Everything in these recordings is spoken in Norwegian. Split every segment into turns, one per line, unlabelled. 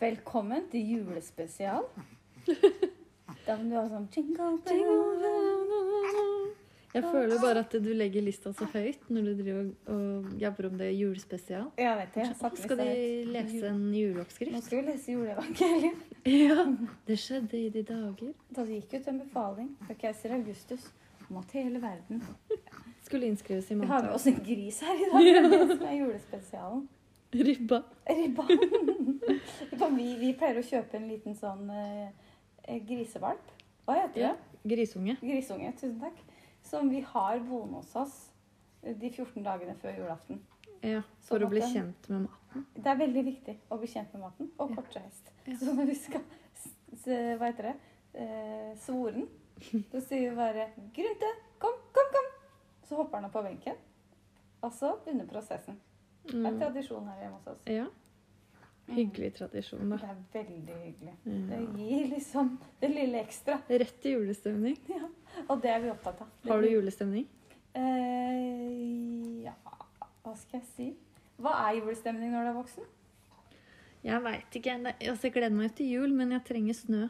Velkommen til julespesial. Da må du ha sånn jingle
Jingle
bell.
bell, na, na, na. Jeg føler bare at du legger lista så høyt når du driver og- og jabber om det julespesial.
Ja, vet du, jeg satt
Skal de lese en
Nå
juleoppskrift?
skal vi lese juleevangeliet.
Ja. Det skjedde i de dager.
Da det gikk ut en befaling fra keiser Augustus om at hele verden
Skulle innskrives i
Vi har med
mandag.
oss en gris her i dag. Det er det som er julespesialen.
Ribba.
Ribba. Ribba, Vi, vi pleier å kjøpe en liten sånn eh, eh, grisevalp. Hva heter det?
Ja. Grisunge.
Grisunge. Tusen takk. Som vi har boende hos oss eh, de 14 dagene før julaften.
Ja, for
Sånn
å
at
bli
den-
kjent med mat.
Det er veldig viktig å bli kjent med maten og
Ja.
kortreist.
Ja.
Så når vi skal s- s- Hva heter det? Eh, svoren. Da sier vi bare 'Grunte, kom, kom, kom!' Så hopper han opp på benken. Og så begynner prosessen. Det er
Mm.
tradisjon her hjemme hos oss.
Ja. Hyggelig tradisjon,
Det
da.
er veldig hyggelig. Det
Ja.
gir liksom det lille ekstra.
Rett til julestemning.
Ja. Og det er vi opptatt av.
Har du julestemning?
Eh, ja Hva skal jeg si? Hva er julestemning når du er voksen?
Jeg veit ikke. Det- Altså, jeg gleder meg jo til jul, men jeg trenger snø.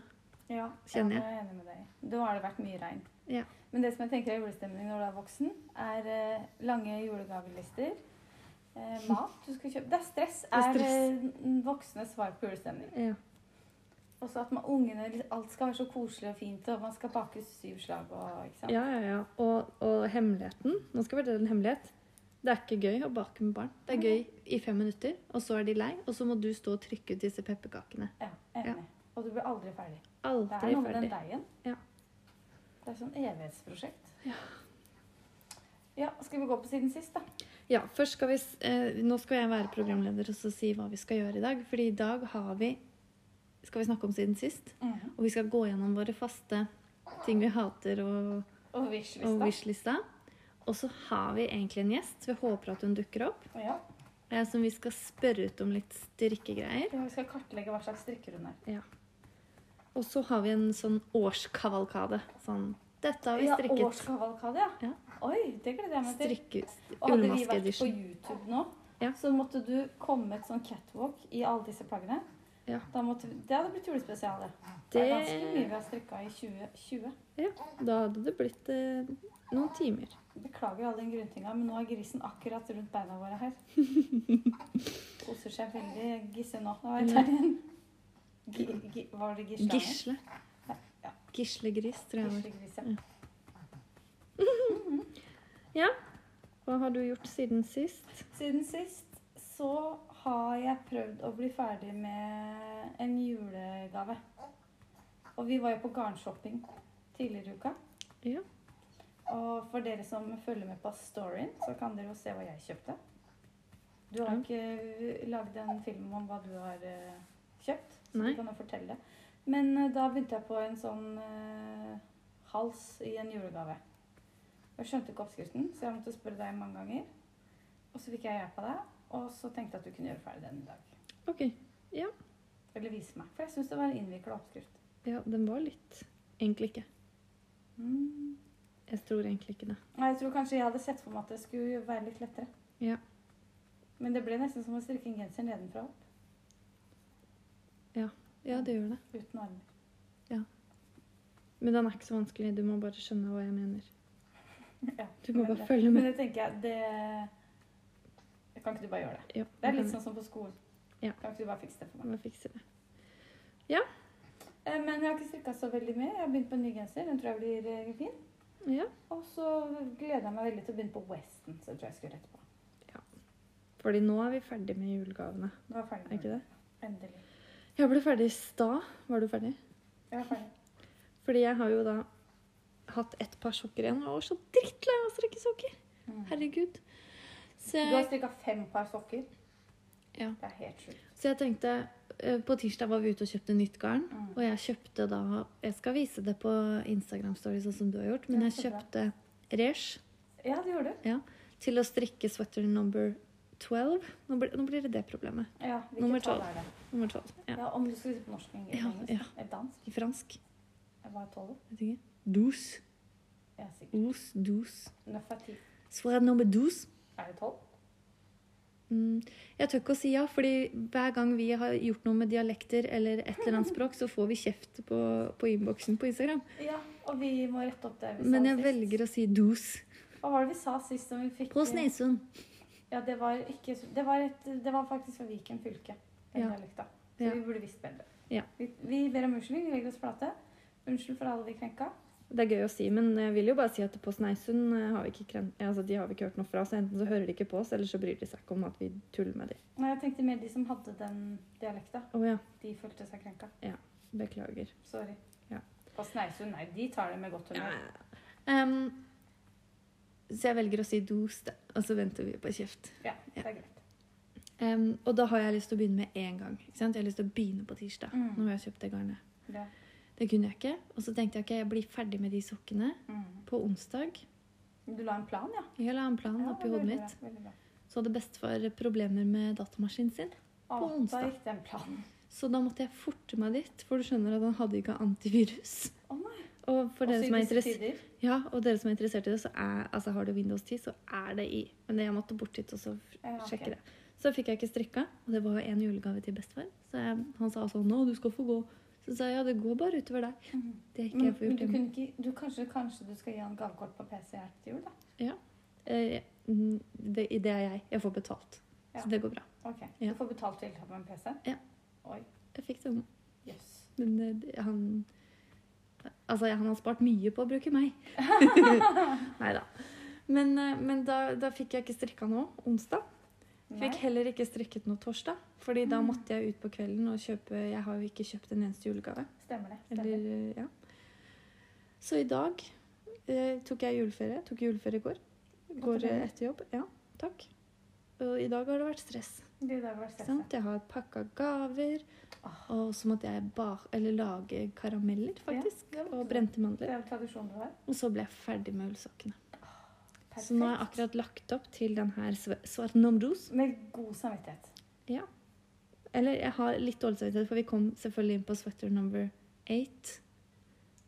Ja,
Kjenner
jeg. er enig med deg. Da har det vært mye regn.
Ja.
Men det som jeg tenker er julestemning når du er voksen, er eh, lange julegavelister. Eh, mat du skal kjøpe Det er stress.
er
Er,
stress.
eh, n- voksne svar på julestemning.
Ja.
Og så at man, ungene liksom- Alt skal være så koselig og fint, og man skal bake syv slag og ikke sant?
Ja, ja, ja. Og, og hemmeligheten Nå skal jeg fortelle en hemmelighet. Det er ikke gøy å bake med barn. Det er gøy i fem minutter, og så er de lei. Og så må du stå og trykke ut disse pepperkakene.
Ja, enig. Og du blir aldri ferdig. Det er
Aldri
noe med den
ferdig.
deigen.
Ja.
Det er sånn evighetsprosjekt. Ja. ja. Skal vi gå på siden sist, da?
Ja, først skal vi, s- eh, nå skal jeg være programleder og så si hva vi skal gjøre i dag. Fordi i dag har vi skal vi snakke om siden sist. Og vi skal gå gjennom våre faste ting vi hater og,
Og
og
wishlista.
wish-lista. Og så har vi egentlig en gjest. Vi håper at hun dukker opp.
Ja.
eh, Som vi skal spørre ut om litt strikkegreier.
Ja, Vi skal kartlegge hva slags strikker hun er.
Og så har vi en sånn årskavalkade. Sånn Dette har vi strikket.
Årskavalkade, ja.
Ja.
Oi, det gleder jeg meg til.
Strikke
Og hadde vi
ullmaske
vært på
edition.
YouTube nå,
Ja.
så måtte du komme med et sånn catwalk i alle disse plaggene.
Ja.
Da måtte, vi- det hadde blitt julespesial, det. Det er ganske mye
Det,
vi har strikka i 2020.
da hadde det blitt eh, noen timer.
Beklager all den gruntinga, men nå er grisen akkurat rundt beina våre her. Koser seg veldig. Gisse nå. Hva var det der igjen? Gi- gi- Var det gislanger?
Gisle.
Ja.
Gislegris, tror jeg. det var.
Gislegris, ja.
Hva har du gjort siden sist?
Siden sist så har jeg prøvd å bli ferdig med en julegave. Og vi var jo på garnshopping tidligere i uka.
Ja.
Og for dere som følger med på storyen, så kan dere jo se hva jeg kjøpte. Du har
Ja.
ikke eh, lagd en film om hva du har eh, kjøpt, så
Nei.
du kan jo fortelle det. Men eh, da begynte jeg på en sånn eh, hals i en julegave. Jeg skjønte ikke oppskriften, så jeg måtte spørre deg mange ganger. Og så fikk jeg hjelp av deg, og så tenkte jeg at du kunne gjøre ferdig den i dag.
OK.
Eller vise meg, for jeg syns det var en innvikla oppskrift.
Ja, den var litt Egentlig ikke.
Mm.
Jeg tror egentlig ikke det.
Nei, jeg tror kanskje jeg hadde sett for meg at det skulle være litt lettere.
Ja.
Men det ble nesten som å strikke en genser nedenfra og opp,
Ja, det gjør det.
uten armer.
Men den er ikke så vanskelig. Du må bare skjønne hva jeg mener.
Ja,
Du må
men
bare
det-
følge
Men
med.
det tenker jeg, det Kan ikke du bare gjøre det?
Ja,
Det er
jeg
litt
kan-
sånn som på skolen.
Ja. Mm.
Kan ikke du bare fikse det for meg?
jeg fikser det.
Eh, Men jeg har ikke strikka så veldig mye. Jeg har begynt på en ny genser. Den tror jeg blir eh, fin.
Ja.
Og så gleder jeg meg veldig til å begynne på Weston, så tror jeg jeg skulle etterpå.
Fordi nå er vi ferdig med julegavene.
Nå er jeg ferdig.
Er ikke det?
Endelig.
Jeg ble ferdig i stad. Var du ferdig?
Jeg er ferdig.
Fordi jeg har jo da hatt ett par sokker igjen. og Jeg var så drittlei av å strikke sokker.
Mm.
Herregud. Så
Du har
jeg,
strikka fem par sokker.
Ja.
Det er helt sjukt.
så jeg tenkte eh, På tirsdag var vi ute og kjøpte nytt garn.
Mm.
Og jeg kjøpte da Jeg skal vise det på Instagram Story, sånn som du har gjort. Men
Ja,
jeg
så bra.
kjøpte Resh
Ja, det gjorde du.
til å strikke sweater number 12. Nå blir, nå blir det det problemet.
Ja, hvilket
Nummer
tall
tolv.
er det?
Nummer 12. Ja.
Ja, om du skulle si på norsk engelsk,
Ja,
engelsk
ja.
eller dansk.
I fransk.
Jeg var tolv.
Vet ikke. Douce.
Jeg er sikker.
Os, douce.
Nøff er ti.
Sweater number douce.
Er det tolv?
Mm, Jeg tør ikke å si ja, fordi hver gang vi har gjort noe med dialekter eller et eller annet språk, så får vi kjeft på, på innboksen på Instagram.
Ja, og vi må rette opp det vi
Men
sa
jeg
sist.
velger å si dos.
Hva var det vi sa sist som vi fikk
På Snesund.
Ja, det var, ikke, så- det var, et, det var faktisk fra Viken fylke. Den
Ja.
dialekta. Så
Ja.
vi burde visst bedre.
Ja.
Vi, vi ber om unnskyldning, vi legger oss flate. Unnskyld for alle vi krenka.
Det er gøy å si, men jeg vil jo bare si at på Sneisund eh, har vi ikke, kren ja, altså, de har vi ikke hørt noe fra, så enten så hører de ikke på oss, eller så bryr de seg ikke om at vi tuller med dem.
Nei, jeg tenkte mer de som hadde den dialekta.
Å ja,
De følte seg krenka.
beklager.
Sorry.
Ja.
På Sneisund, nei, de tar det med godt humør.
Em, så jeg velger å si dos, da, og så venter vi på kjeft.
Ja, det er greit.
Em, og da har jeg lyst til å begynne med en gang. Ikke sant? Jeg har lyst til å begynne på tirsdag.
Mm.
Nå har jeg kjøpt det garnet.
Ja.
Det kunne jeg ikke. Og så tenkte jeg ok, jeg blir ferdig med de sokkene
Mm.
på onsdag.
Du la en plan, ja?
Jeg la en plan
Ja,
oppi hodet
veldig bra,
mitt.
veldig bra.
Så hadde bestefar problemer med datamaskinen sin.
Å,
På onsdag.
Da gikk den planen.
Så da måtte jeg forte meg dit, for du skjønner at han hadde ikke antivirus.
Å nei.
Og for dere
Også i
som, er
disse
interess-
tider.
ja, og dere som er interessert i det, så er, altså har du Windows 10, så er det i. Men jeg måtte bort hit og så f-
Ja, ok.
sjekke det. Så fikk jeg ikke strikka, og det var jo en julegave til bestefar. Så jeg, han sa sånn 'Nå, du skal få gå'. Så sa jeg ja, det går bare utover deg.
Mhm.
Det har ikke
Men,
jeg fått
men
gjort.
du
hjemme.
kunne ikke du, kanskje, kanskje du skal gi han gavekort på PC her til jul, da?
Eh, mm, det, det er jeg. Jeg får betalt.
Ja.
Så det går bra.
Ok,
Ja.
Du får betalt til å ha en PC?
Ja.
Oi,
Jeg fikk sånn.
jøss.
Men eh, det- han Altså, han har spart mye på å bruke meg. Nei da. Men, eh, men da, da fikk jeg ikke strikka noe onsdag.
Nei. Mm.
Fikk heller ikke strikket noe torsdag. Fordi da måtte jeg ut på kvelden og kjøpe Jeg har jo ikke kjøpt en eneste julegave.
Stemmer det. Stemmer.
Eller, eh, ja. Så i dag eh, tok jeg juleferie. Tok juleferie i går. Går eh,
Gratulerer.
etter jobb. Ja, takk. Og i dag har det vært stress.
Du, det var
Ikke
stresset.
sant? Jeg har pakka gaver,
Ah.
og så måtte jeg bak, eller lage karameller, faktisk.
Ja, det var
og
bra.
brente
Det
mandler.
er jo tradisjonen du har.
Og så ble jeg ferdig med ullsokkene.
Perfekt.
Så nå har jeg akkurat lagt opp til den her sve- svartnomdos.
Med god samvittighet.
Eller jeg har litt dårlig samvittighet, for vi kom selvfølgelig inn på sweater number eight.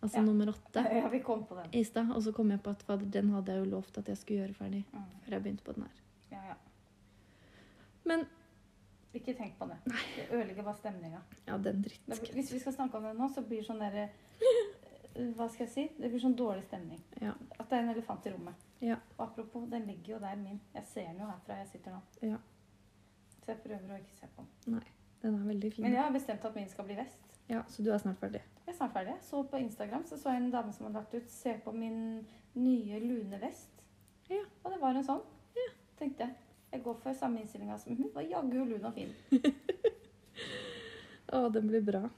Altså
Ja.
nummer åtte
Ja, vi kom på den.
i stad. Og så kom jeg på at fader, den hadde jeg jo lovt at jeg skulle gjøre ferdig
Mm.
før jeg begynte på den her.
Ja, ja.
Men
Ikke tenk på det. Det ødelegger bare stemninga.
ja, den
Det-
drittsk.
Hvis vi skal snakke om det nå, så blir det sånn derre Hva skal jeg si? Det blir sånn dårlig stemning.
Ja.
At det er en elefant i rommet.
Ja.
Og apropos, den ligger jo der, min. Jeg ser den jo herfra jeg sitter nå.
Ja.
Så jeg prøver å ikke se på den.
Den er veldig fin.
Men jeg har bestemt at min skal bli vest.
Ja, så du er snart ferdig.
Jeg er snart ferdig. Jeg så på Instagram så så jeg en dame som hadde lagt ut 'Se på min nye lune vest'.
Ja.
Og det var en sånn. Tenkte jeg. Jeg går for samme innstillinga som hun. Var jaggu lun og fin.
Å, den blir bra.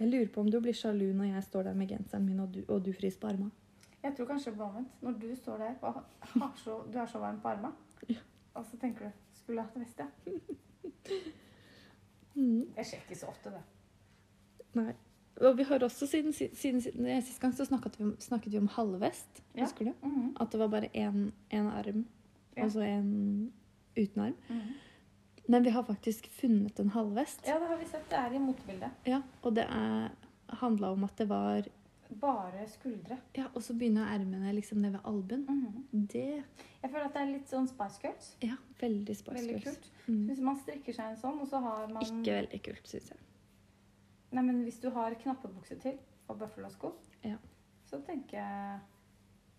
Jeg lurer på om du blir sjalu når jeg står der med genseren min, og du, og du fryser på armene.
Jeg tror kanskje det blir omvendt. Når du står der og har så, du er så varm på armene, og så tenker du 'Skulle jeg hatt vest, ja'. Jeg sjekker så ofte, det.
Nei. Og vi har også siden, siden, siden eh, Sist gang så snakket vi om, snakket vi om halvvest.
Ja.
Husker du?
Mhm.
At det var bare én én arm,
Ja.
og så en uten arm.
Mhm.
Men vi har faktisk funnet en halvvest.
Ja, det har vi sett. Det er i motebildet.
Ja, og det handla om at det var
Bare skuldre.
Ja, og så begynner ermene liksom ned ved albuen.
Mhm.
Det
Jeg føler at det er litt sånn Spice Girls.
Ja, veldig
Veldig
sparskøls.
kult.
Mm.
Hvis man strikker seg en sånn, og så har man
Ikke veldig kult, syns jeg.
Nei, men hvis du har knappebukse til og bøffelosko,
Ja.
så tenker jeg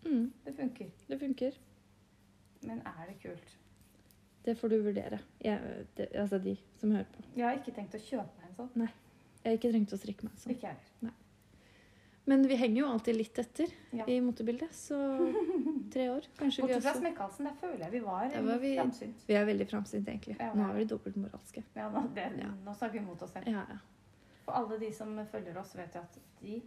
Mm,
det funker.
det funker.
Men er det kult?
Det får du vurdere. Jeg, det, altså de som hører på.
Jeg har ikke tenkt å kjøpe meg en sånn.
Jeg har ikke trengt å strikke meg sånn.
Ikke jeg heller.
Men vi henger jo alltid litt etter
Ja.
i motebildet, så tre år. Kanskje vi
Bortsett fra
også
Smekkalsen, der føler jeg vi var,
Der var vi-
framsynt.
Vi er veldig framsynte, egentlig.
Ja.
Nå er vi dobbeltmoralske.
Ja, nå, det,
Ja.
nå snakker vi mot oss selv.
Ja, ja.
For alle de som følger oss, vet jo at de,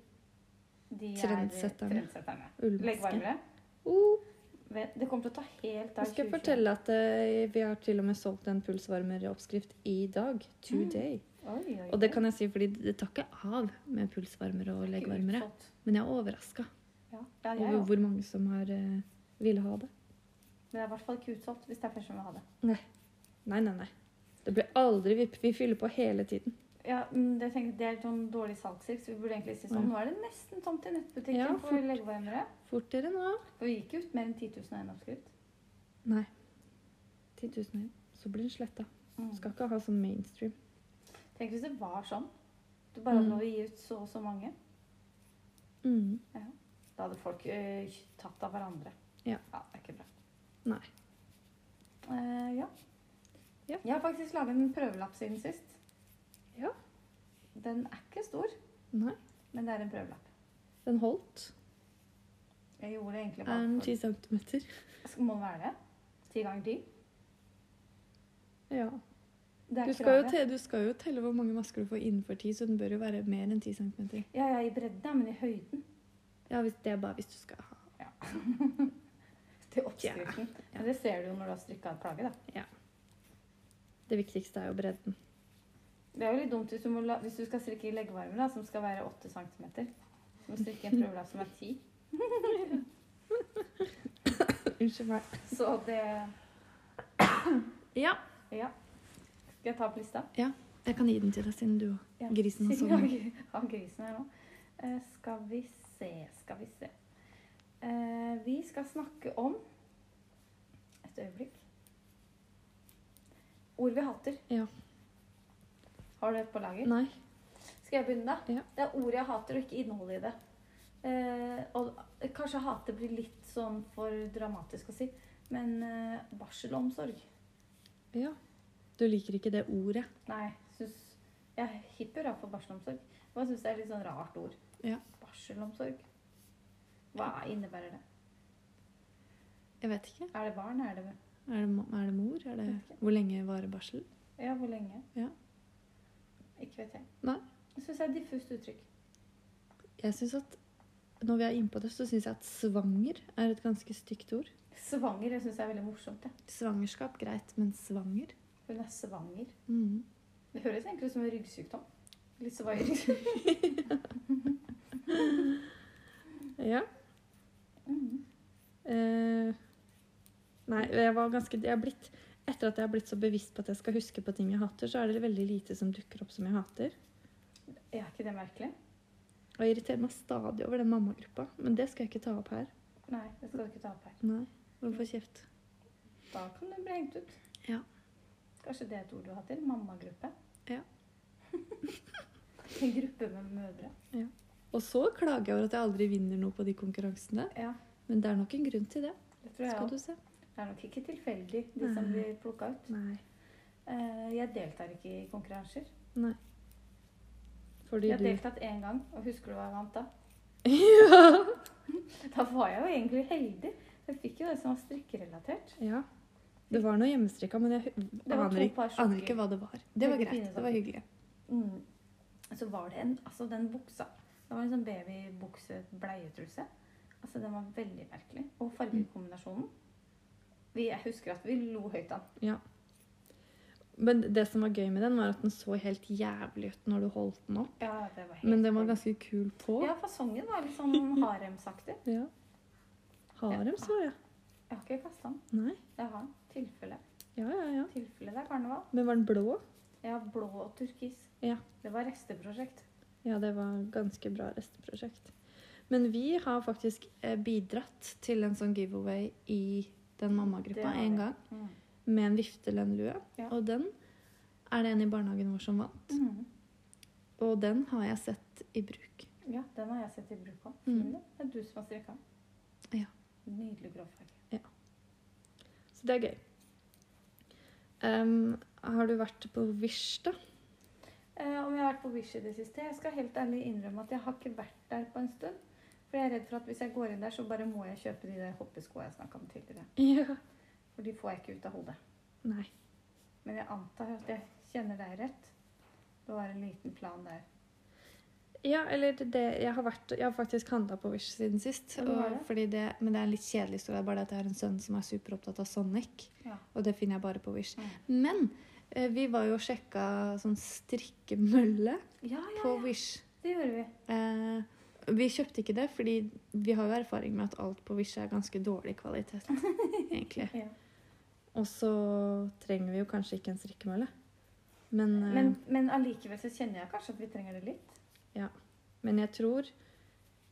de er
Trendsetterne.
trendsetterne. Legg
Ullmaske.
varmere.
Oh,
Vet- Det kommer til å ta helt
nå
av
skal jeg
2020.
fortelle at eh, vi har til og med solgt en pulsvarmeroppskrift i dag. Today.
Oi, oi, oi.
Og det kan jeg si fordi det tar ikke av med pulsvarmere og
Ikke
leggvarmere.
utsolgt.
Men jeg er overraska
Ja, ja, ja,
over
ja.
hvor mange som har eh, ville ha det.
Det er i hvert fall ikke utsolgt hvis det er første gang vi har det.
Nei, nei, nei. Det blir aldri vipp. Vi fyller på hele tiden.
Ja, men det, tenker, jeg- det er sånn dårlig salgstriks. Vi burde egentlig si sånn
Ja.
Nå er det nesten tomt i nettbutikken
Ja,
for
fort.
leggvarmere.
Fortere nå.
For vi gikk ut mer enn 10 000 av en oppskrift.
Nei. 10 000 igjen. så blir den sletta.
Mm.
Skal ikke ha sånn mainstream.
Tenk hvis det var sånn. Du bare
Mm.
må gi ut så og så mange.
Mm.
Da hadde folk eh, tatt av hverandre.
Ja.
Det er ikke bra.
Nei.
Eh, ja.
Ja.
Jeg har faktisk laget en prøvelapp siden sist.
Ja.
Den er ikke stor,
Nei.
men det er en prøvelapp.
Den holdt.
Jeg gjorde det egentlig
Er
bare
den
for-
10 centimeter?
Skal- Må den være det? Ti ganger ti?
Ja.
Det
Du
er
skal, jo
kravet.
te, du skal jo telle hvor mange masker du får innenfor 10, så den bør jo være mer enn 10 cm.
Ja, ja, i bredden, men i høyden.
Ja, hvis det er bare hvis du skal ha
Til oppskriften.
Ja.
Men det ser du jo når du har strikka et plagge, da.
Det viktigste er jo bredden.
Det er jo litt dumt hvis du, må la, hvis du skal strikke i leggevarme, da, som skal være 8 cm. Du må strikke en prøvelapp som er 10.
Unnskyld meg.
Så det
Ja.
Ja. Skal jeg ta opp lista?
Jeg kan gi den til deg, siden du òg.
Ja.
Grisen har
Siden
sovet.
jeg har grisen her nå. Eh, skal vi se, skal vi se. Eh, vi skal snakke om Et øyeblikk. Ord vi hater.
Ja.
Har du et på lager?
Nei.
Skal jeg begynne, da?
Ja.
Det er ord jeg hater, og ikke innholdet i det. Eh, og kanskje hate blir litt sånn for dramatisk å si, men eh, barselomsorg
Ja. Du liker ikke det ordet.
Nei, synes, jeg er hipp hurra for barselomsorg. Men jeg syns det er litt sånn rart ord.
Ja.
Barselomsorg. Hva innebærer det?
Jeg vet ikke.
Er det barn? Er det
Er det, ma- er det mor? Er det,
Vet ikke.
hvor lenge varer barsel?
Ja, hvor lenge?
Ja.
Ikke vet jeg.
Nei.
Jeg syns det er et diffust uttrykk.
Jeg synes at Når vi er inne på det, så syns jeg at svanger er et ganske stygt ord.
Svanger jeg synes jeg er veldig morsomt. Jeg.
Svangerskap, greit, men svanger?
Hun er svanger.
Mhm.
Det høres egentlig ut som en ryggsykdom. Litt svanger.
Ja.
Mhm.
Eh, nei, jeg var ganske jeg er blitt, Etter at jeg har blitt så bevisst på at jeg skal huske på ting jeg hater, så er det veldig lite som dukker opp som jeg hater.
Er ikke det merkelig?
Og jeg irriterer meg stadig over den mammagruppa, men det skal jeg ikke ta opp her.
Nei, det skal du ikke ta opp her.
Nei, Hvorfor kjeft?
Da kan du bli hengt ut.
Ja.
Kanskje det er et ord du har til? Mammagruppe?
Ja.
en gruppe med mødre.
Og så klager jeg over at jeg aldri vinner noe på de konkurransene,
Ja,
men det er nok en grunn til det.
det tror jeg
Skal
også.
du se.
Det er nok ikke tilfeldig, de som
Nei.
blir plukka ut.
Nei.
Eh, Jeg deltar ikke i konkurranser.
Nei. Fordi
Jeg har
du
deltatt én gang, og husker du hva jeg vant da?
Ja.
Da var jeg jo egentlig heldig. Jeg fikk jo det som var strikkerelatert.
ja. Det var noe hjemmestrikka, men jeg hu-
var
aner
to
ikke,
par sokker.
aner ikke hva det var. Det var
Veldig
greit.
fine
Det var hyggelig.
Mm. Så var det en Altså, den buksa Det var en sånn babybukse-bleietruse. Altså, den var veldig merkelig. Og fargekombinasjonen. Vi, jeg husker at vi lo høyt av den.
Men det som var gøy med den, var at den så helt jævlig ut når du holdt den opp.
Ja, det var helt
Men den var
forferdelig.
ganske kul på.
Ja, fasongen var litt sånn haremsaktig.
Ja. Harem, så jeg.
Jeg har ikke kasta den.
Nei.
Jeg har den. Tilfelle.
Ja, ja, ja.
Tilfelle det er karneval.
Men var den blå?
Jeg har blå og turkis.
Ja.
Det var resteprosjekt.
Ja, det var ganske bra resteprosjekt. Men vi har faktisk eh, bidratt til en sånn giveaway i den
Det
mammagruppa
har vi.
en gang. Med en viftelønnlue.
Ja.
Og den er det en i barnehagen vår som vant.
Mm.
Og den har jeg sett i bruk.
Ja, den har jeg sett i bruk av.
Mm.
Fin, den. Det er du som har strikka den.
Ja.
Nydelig gråfarge.
Så det er gøy. Em, har du vært på Wish, da?
Eh, om jeg har vært på Wish i det siste? Jeg skal helt ærlig innrømme at jeg har ikke vært der på en stund. For jeg er redd for at hvis jeg går inn der, så bare må jeg kjøpe de der hoppeskoa jeg snakka om tidligere.
Ja.
For de får jeg ikke ut av hodet.
Nei.
Men jeg antar at jeg kjenner deg rett. Det var en liten plan der.
Ja, eller det Jeg har, vært, jeg har faktisk handla på Wish siden sist.
Ja, du har
Og
det?
fordi det, men det er en litt kjedelig historie. Det er Bare det at jeg har en sønn som er superopptatt av Sonic.
Ja.
Og det finner jeg bare på Wish.
Mm.
Men eh, vi var jo og sjekka sånn strikkemølle
Ja, ja,
på Wish.
det gjorde vi.
Eh, vi kjøpte ikke det, fordi vi har jo erfaring med at alt på Wish er ganske dårlig kvalitet. egentlig.
Ja.
Og så trenger vi jo kanskje ikke en strikkemølle. Men, eh,
Men, men allikevel så kjenner jeg kanskje at vi trenger det litt.
men jeg tror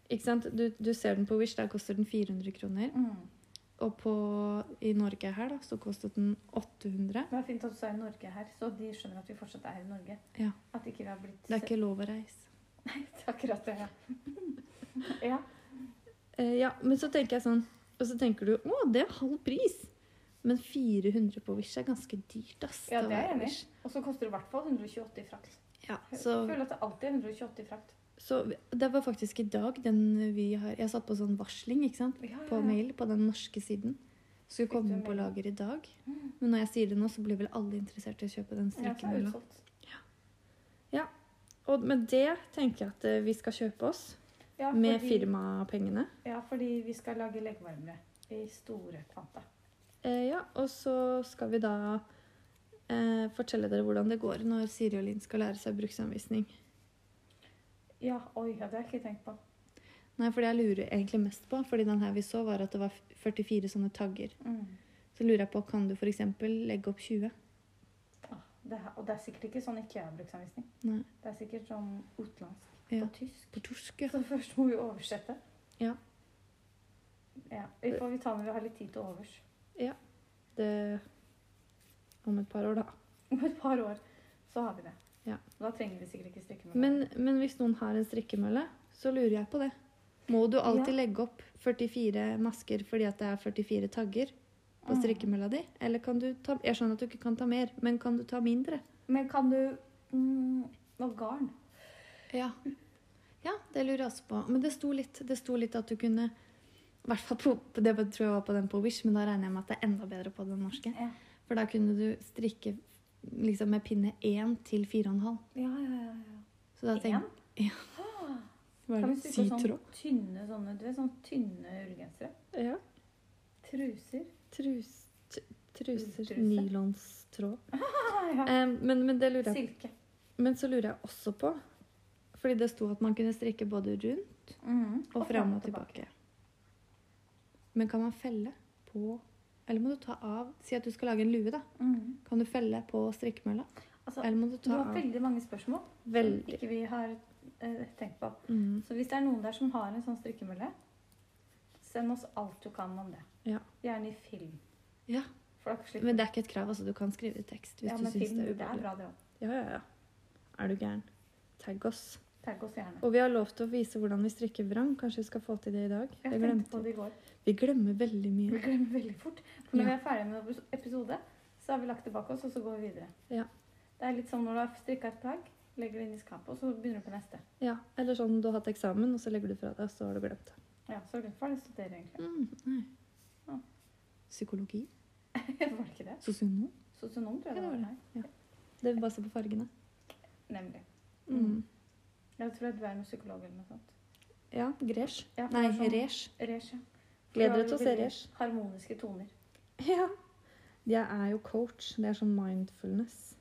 ikke sant? Du, du ser den på Wish, der koster den 400 kroner.
Mm.
Og på, i Norge her da, så kostet den 800.
Det er fint at du sa i Norge her, så de skjønner at vi fortsatt er i Norge.
Ja.
At ikke vi har blitt
Det er ikke lov å reise.
Nei, det er akkurat det. Ja. ja.
Eh, ja, men så tenker jeg sånn, og så tenker du, å, det er halv pris. Men 400 på Wish er ganske dyrt, ass.
Ja,
til å
det er jeg
være
enig i.
Wish.
Og så koster det i hvert fall 128 i frakt.
Ja,
Jeg
så,
føler at det alltid er 128 i frakt.
så det var faktisk i dag den vi har, jeg satt på sånn varsling, ikke sant?
Ja, ja,
På
ja.
mail, på den norske siden. Skulle
Fikk du
komme
en
på
mail?
lager i dag. Men når jeg sier det nå, så blir vel alle interessert i å kjøpe den
Mm. Ja, så er det sånn.
strikkemølla.
utsolgt.
Og med det tenker jeg at eh, vi skal kjøpe oss
Ja,
med
fordi-
firmapengene.
Ja, fordi vi skal lage leggvarmere i store kvanta.
Eh, ja, og så skal vi da eh, fortelle dere hvordan det går når Siri og Linn skal lære seg bruksanvisning.
Ja, oi, ja, det har jeg ikke tenkt på.
Nei, for det jeg lurer egentlig mest på, fordi den her vi så var at det var 44 sånne tagger.
Mm.
Så lurer jeg på, kan du for eksempel legge opp 20?
Ah, det er, og det er sikkert ikke sånn IKEA-bruksanvisning.
Nei.
Det er sikkert sånn utenlandsk
Ja.
på tysk.
På torsk, ja.
Så først må vi oversette.
Ja.
Ja, Vi får vi ta når vi har litt tid til overs.
Det... Om et par år, da.
Om et par år så har vi det.
Ja.
Da trenger vi sikkert ikke strikkemølle.
Men, men hvis noen har en strikkemølle, så lurer jeg på det. Må du alltid legge opp 44 masker fordi at det er 44 tagger på
Mm.
strikkemølla di? Eller kan du ta Jeg skjønner at du ikke kan ta mer, men kan du ta mindre?
Men kan du mm, Og garn.
Ja. ja, det lurer jeg også på. Men det sto litt, det sto litt at du kunne i hvert fall på, Det var- tror jeg var på den på Wish, men da regner jeg med at det er enda bedre på den norske.
Ja.
For da kunne du strikke liksom med pinne 1 til 4,5.
Ja, ja, ja. ja. Ah.
Så da
Én?
tenker jeg Hva er
Kan vi
det?
strikke
Sytråd?
sånn tynne sånne du vet, sånn tynne ullgensere?
Ja.
Truser?
Trus, t- truser.
Truse.
Nylonstråd.
Ah, ja.
Eh, men, men, det lurer jeg,
Silke.
men så lurer jeg også på Fordi det sto at man kunne strikke både rundt
Mhm.
og fram og tilbake. Men kan man felle på Eller må du ta av Si at du skal lage en lue, da.
Mhm.
Kan du felle på strikkemølla?
Altså,
Eller må du
du
ta
har
av?
veldig mange spørsmål som
Veldig.
ikke vi har eh, tenkt på.
Mm.
Så hvis det er noen der som har en sånn strikkemølle, send oss alt du kan om det.
Ja.
Gjerne i film.
Ja.
For da slipper
Men det er ikke et krav. altså Du kan skrive tekst hvis
ja,
du
men
syns
film,
det er
det er
ubehagelig.
bra, det òg.
Ja, ja, ja. Er du gæren? Tagg oss.
Tagg oss gjerne.
Og vi har lov til å vise hvordan vi strikker vrang. Kanskje vi skal få til det i dag?
Jeg
Det
tenkte på
glemte vi.
det i går.
Vi glemmer veldig
Vi
mye.
glemmer veldig fort. For når
Ja.
vi er ferdig med en episode, så har vi lagt det bak oss, og så går vi videre.
Ja.
Det er litt som når du har strikka et plagg, legger det inn i skapet, og så begynner du på neste.
Ja, Eller sånn du har hatt eksamen, og så legger du fra deg, og så har du glemt det.
Ja, så er det for det studerer egentlig.
Mm, nei.
Ja.
Psykologi?
var det ikke det?
Sosionom?
Sosionom, tror jeg
Ja,
det
det
var.
var Det vil bare se på fargene.
Nei, Nemlig.
Mm.
Jeg tror at du er noen psykolog eller noe sånt.
Ja, Gresh.
Ja, for
Nei,
det er sånn-
Resh.
Resh, ja.
Gleder
Du har
deg til å se
veldig
Resh.
Harmoniske toner.
Ja. Jeg er jo coach. Det er sånn mindfulness.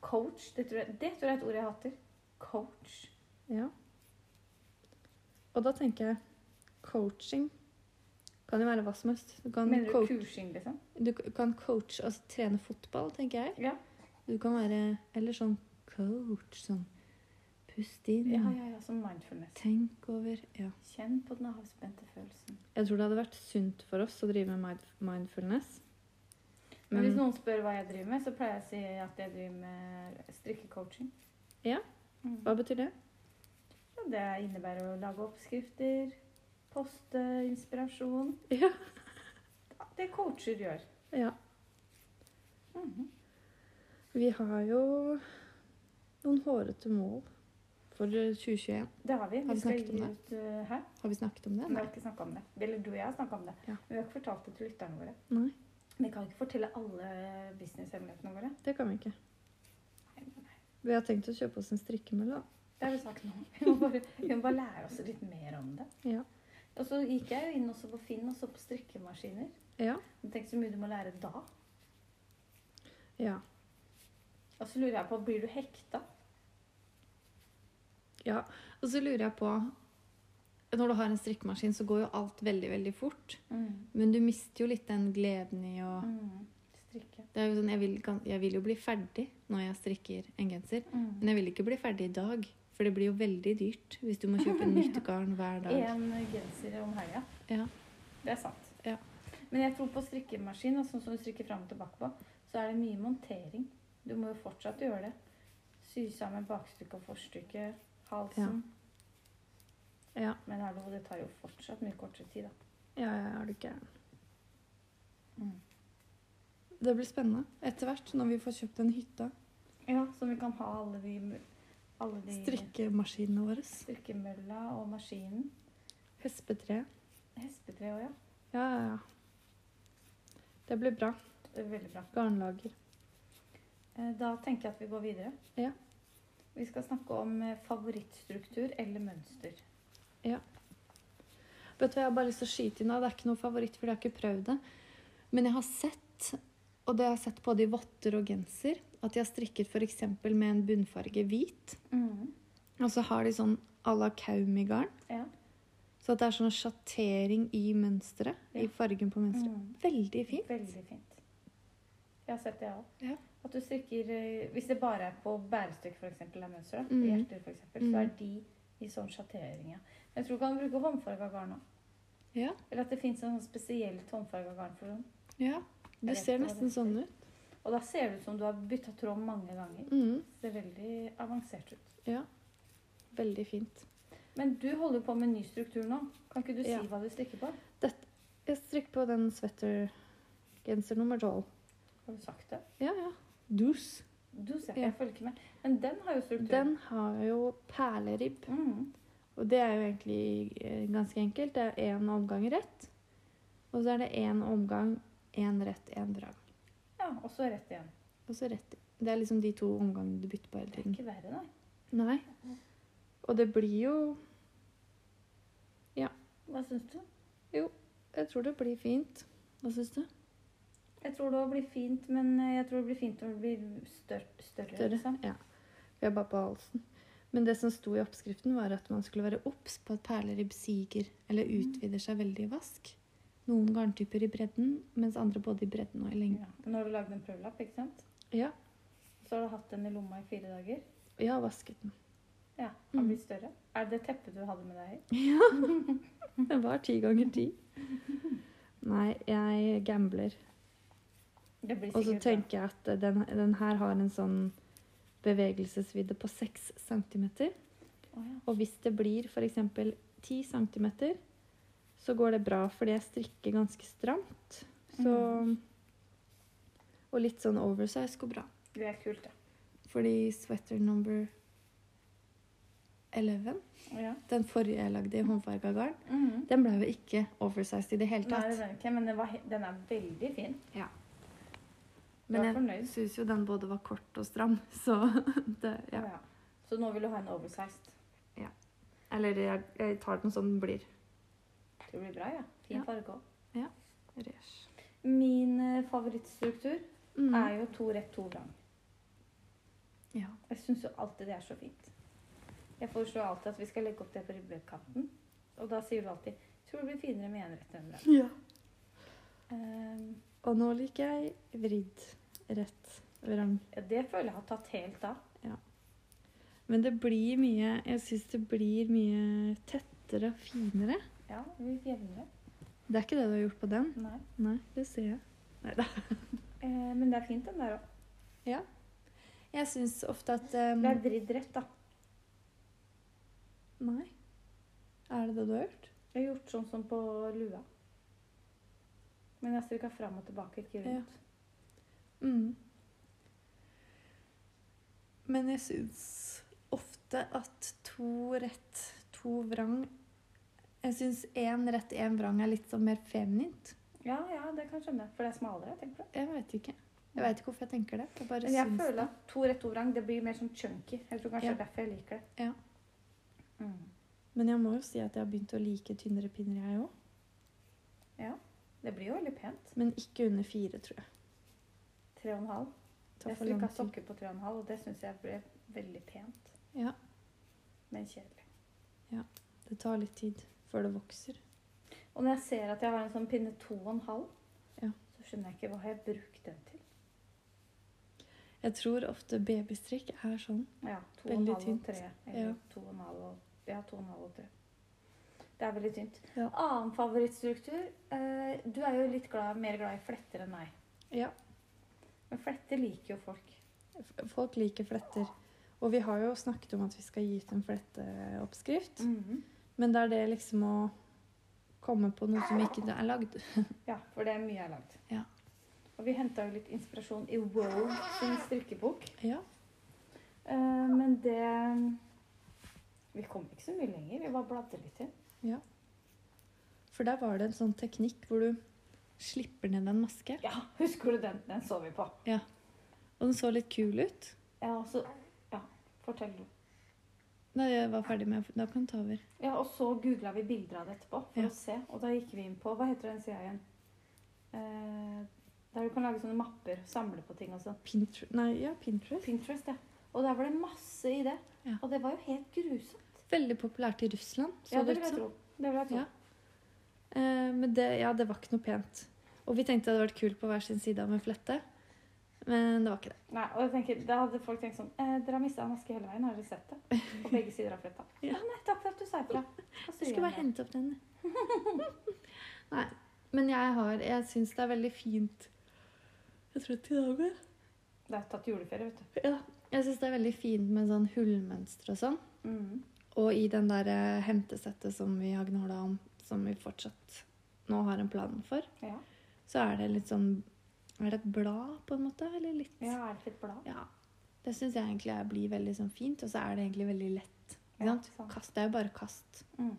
Coach, det tror jeg, det tror jeg er et ord jeg hater. Coach.
Ja. Og da tenker jeg coaching kan jo være hva som helst. Du kan,
Mener du
Sånn coach,
kursing, liksom?
du kan coach, altså trene fotball, tenker jeg.
Ja.
Du kan være Eller sånn coach, sånn Pust inn,
Ja, ja, ja, som mindfulness.
tenk over Ja.
Kjenn på den avspente følelsen.
Jeg tror det hadde vært sunt for oss å drive med mind- mindfulness.
Men,
Men
hvis noen spør hva jeg driver med, så pleier jeg å si at jeg driver med strikkecoaching.
Ja.
Mm.
hva betyr det?
Ja, Det innebærer å lage oppskrifter, poste inspirasjon.
Ja.
Det coacher gjør.
ja.
Mhm.
Vi har jo noen hårete mål for 2021.
Det har vi.
Har vi
skal
snakket om
gi
det?
Ut, uh, hæ?
Har vi snakket om det?
Vi har ikke snakket om det. Eller du og jeg har snakket om det.
Ja.
Men vi har ikke fortalt det til lytterne våre.
Nei,
Vi kan ikke fortelle alle businesshemmelighetene våre.
det kan vi ikke.
Nei, nei, nei.
Vi har tenkt å kjøpe oss en strikkemølle. da.
Det har vi sagt nå. Vi må bare, vi må bare lære oss litt mer om det.
Ja.
Og så gikk jeg jo inn også på Finn og så på strikkemaskiner.
Ja.
Tenk så mye du må lære da.
ja.
Og så lurer jeg på, blir du hekta?
Ja, og så lurer jeg på Når du har en strikkemaskin, så går jo alt veldig, veldig fort. Men du mister jo litt den gleden i å
Mm. Strikke.
det er jo sånn, jeg vil, gan- jeg vil jo bli ferdig når jeg strikker en genser.
Mm.
Men jeg vil ikke bli ferdig i dag, for det blir jo veldig dyrt hvis du må kjøpe nytt garn hver dag.
En genser om helga.
Ja.
Det er sant.
Ja.
Men jeg tror på strikkemaskin, og sånn som du strikker fram og tilbake på, så er det mye montering. Du må jo fortsatt gjøre det. Sy sammen bakstykke og forstykke, halsen.
Ja.
Men hallo, det tar jo fortsatt mye kortere tid, da.
Ja, ja, er du gæren.
Mm.
Det blir spennende etter hvert, når vi får kjøpt en hytte.
Ja, så vi kan ha alle de, alle de
Strikkemaskinene våre.
strikkemølla og maskinen.
Hespetre.
Hespetre òg, ja.
Ja, ja, ja. Det blir bra.
Det er veldig bra.
Garnlager.
Eh, Da tenker jeg at vi går videre.
Ja.
Vi skal snakke om eh, favorittstruktur eller mønster.
Vet du hva, Jeg har bare lyst til å skyte inn. da. Det er ikke noe favoritt, fordi jeg har ikke prøvd det. Men jeg har sett, og det har jeg sett både i votter og genser, at de har strikket f.eks. med en bunnfarge hvit. Mm. Og så har de sånn à la Kaumi-garn.
Ja.
Så at det er sånn sjattering i mønsteret.
Ja.
I fargen på mønsteret.
Mm.
Veldig fint.
Veldig fint. Jeg har sett det, jeg òg.
Ja.
At du strikker eh, Hvis det bare er på bærestykke, f.eks., av mønsteret,
Mhm.
hjerter, for eksempel, så
Mhm.
er de i sånn sjattering, ja. Men Jeg tror du kan bruke håndfarga garn òg.
Ja.
Eller at det fins sånn spesielt håndfarga garn for sånn dem.
ja.
Jeg
Det
vet
ser
ikke hva
nesten
det
sånn ut.
Og da ser det ut som du har bytta tråd mange ganger.
Mm.
Det ser veldig avansert ut.
Ja. Veldig fint.
Men du holder jo på med ny struktur nå. Kan ikke du si
Ja.
hva du strikker på?
Jeg strikker på den sweatergenser nummer tolv.
Har du sagt det?
Ja, ja. Dus.
Du ser,
Ja.
jeg følger ikke med. Men den har jo struktur.
Den har jo perleribb.
Mhm.
Og det er jo egentlig eh, ganske enkelt. Det er én omgang rett, og så er det én omgang, én rett, én vrang.
Ja, og så rett igjen.
Og så rett. Det er liksom de to omgangene du bytter på hele
Det er
tiden.
ikke verre, nei.
Nei. Og det blir jo
Hva syns du?
Jeg tror det blir fint. Hva syns du?
Jeg tror det også blir fint, men eh, jeg tror det blir fint når det blir stør større.
Større.
Liksom.
Ja. Vi er bare på halsen. Men det som sto i oppskriften, var at man skulle være obs på at perleribb siger eller utvider seg veldig i vask. Noen garntyper i bredden, mens andre både i bredden og i lengden.
Ja. Nå har du lagd en prøvelapp, ikke sant?
Ja.
Så har du hatt den i lomma i fire dager.
Jeg har vasket den.
Ja, Den
Mm.
blir større. Er det teppet du hadde med deg? i?
Ja. Det var ti ganger ti. Nei, jeg gambler.
Det blir
Og så
sikkert
tenker jeg at den, den her har en sånn bevegelsesvidde på 6 cm.
bra. Å, ja.
Og hvis det blir f.eks. 10 cm, så går det bra, fordi jeg strikker ganske stramt. Så
Mm.
Og litt sånn oversize går bra.
Det er kult, da.
Fordi sweater number 11,
Ja.
den forrige jeg lagde i håndfarga garn,
Mhm.
den ble jo ikke oversized i det hele
Nei,
tatt.
det er ikke, men den, var, he- den er veldig fin. Du
Men
er
jeg
fornøyd?
syns jo den både var kort og stram, så det Ja.
Ja. Så nå vil du ha en oversized.
Eller jeg, jeg tar den som den blir.
Det blir bra, ja. Fin
Ja.
farge òg.
Resh.
Min eh, favorittstruktur
Mm.
er jo to rett, to vrang.
Ja.
Jeg syns jo alltid det er så fint. Jeg foreslår alltid at vi skal legge opp det på ribbekanten. Og da sier du alltid 'Tror det blir finere med én rett enn med um,
Og nå liker jeg vridd rett vrang.
ja, Det føler jeg har tatt helt av.
Men det blir mye Jeg syns det blir mye tettere og finere.
Ja, det blir jevnere.
Det er ikke det du har gjort på den?
Nei.
Nei, det ser jeg.
Eh, men det er fint, den der òg.
Jeg syns ofte at ehm,
Det er vridd rett, da.
Nei. Er det det du har gjort?
Jeg har gjort sånn som på lua. Men jeg strikka fram og tilbake, ikke rundt.
Mm. Men jeg syns ofte at to rett, to vrang Jeg syns én rett, én vrang er litt sånn mer feminint.
Ja, ja, det kan jeg skjønne. For det er smalere, tenker du.
Jeg veit ikke. Jeg veit ikke hvorfor jeg tenker det. Jeg bare
Men jeg
syns
føler
det.
at to rett, to vrang, det blir mer sånn chunky. Jeg tror kanskje det
Ja.
er derfor jeg liker det.
Ja.
Mm.
Men jeg må jo si at jeg har begynt å like tynnere pinner, jeg òg.
Det blir jo veldig pent.
Men ikke under fire, tror jeg.
Tre og en halv.
Det tar
Jeg
for lang
strikka
tid.
sokker på tre og en halv, og det syns jeg ble veldig pent.
Ja.
Men kjedelig.
Det tar litt tid før det vokser.
Og når jeg ser at jeg har en sånn pinne to og en halv,
Ja.
så skjønner jeg ikke hva har jeg brukt den til.
Jeg tror ofte babystrikk er sånn.
Ja, to og en
Veldig
halv og
tynt.
tre. Eller
Ja.
to og en halv og Ja, to og en halv og tre. Det er veldig tynt.
Ja.
Annen favorittstruktur eh, Du er jo litt glad, mer glad i fletter enn meg.
Ja.
Men fletter liker jo folk.
F- Folk liker fletter. Og vi har jo snakket om at vi skal gi ut en fletteoppskrift. Men det er det liksom å komme på noe som ikke er lagd.
Ja, for det er mye jeg har lagd.
Ja.
Og vi henta jo litt inspirasjon i Wow sin strikkebok.
Ja.
Eh, men det Vi kom ikke så mye lenger. Vi bare bladde litt til.
For der var det en sånn teknikk hvor du slipper ned en maske.
Ja, husker du den? Den så vi på.
Og den så litt kul ut.
Ja, og så Ja, fortell du.
Da jeg var ferdig med Da kan du ta over.
Ja, og så googla vi bilder av det etterpå for
Ja.
å se. Og da gikk vi inn på Hva heter den sida igjen? Eh, der du kan lage sånne mapper. Samle på ting og sånn.
Pinterest. Nei, ja, Pinterest.
Pinterest, ja. Og der var det masse i det.
Ja.
Og det var jo helt grusomt.
Veldig populært i Russland. Så
Ja, det vil
det ut
jeg
som.
tro. Det vil jeg tro.
Ja. Eh, men det, ja, det var ikke noe pent. Og vi tenkte det hadde vært kult på hver sin side av en flette. Men det var ikke det.
Nei, og jeg tenker, Da hadde folk tenkt sånn eh, Dere har mista en maske hele veien, har dere sett det? På begge sider av fletta. Ja.
Ja.
Nei, takk for at du sa ifra. Da syr
Jeg skal
jeg
bare
den.
hente opp den. Nei. Men jeg har Jeg syns det er veldig fint Jeg tror til dag er
Det er tatt juleferie, vet du.
Ja. Jeg syns det er veldig fint med sånn hullmønster og sånn.
Mhm.
Og i den der eh, hentesettet som vi har gnåla om, som vi fortsatt nå har en plan for,
Ja.
så er det litt sånn Er det et blad, på en måte? Eller litt
ja, er det litt blad?
Ja. Det syns jeg egentlig er- blir veldig sånn fint, og så er det egentlig veldig lett. Ikke
Ja,
sant?
sant.
Kast, det er jo bare kast.
Mhm.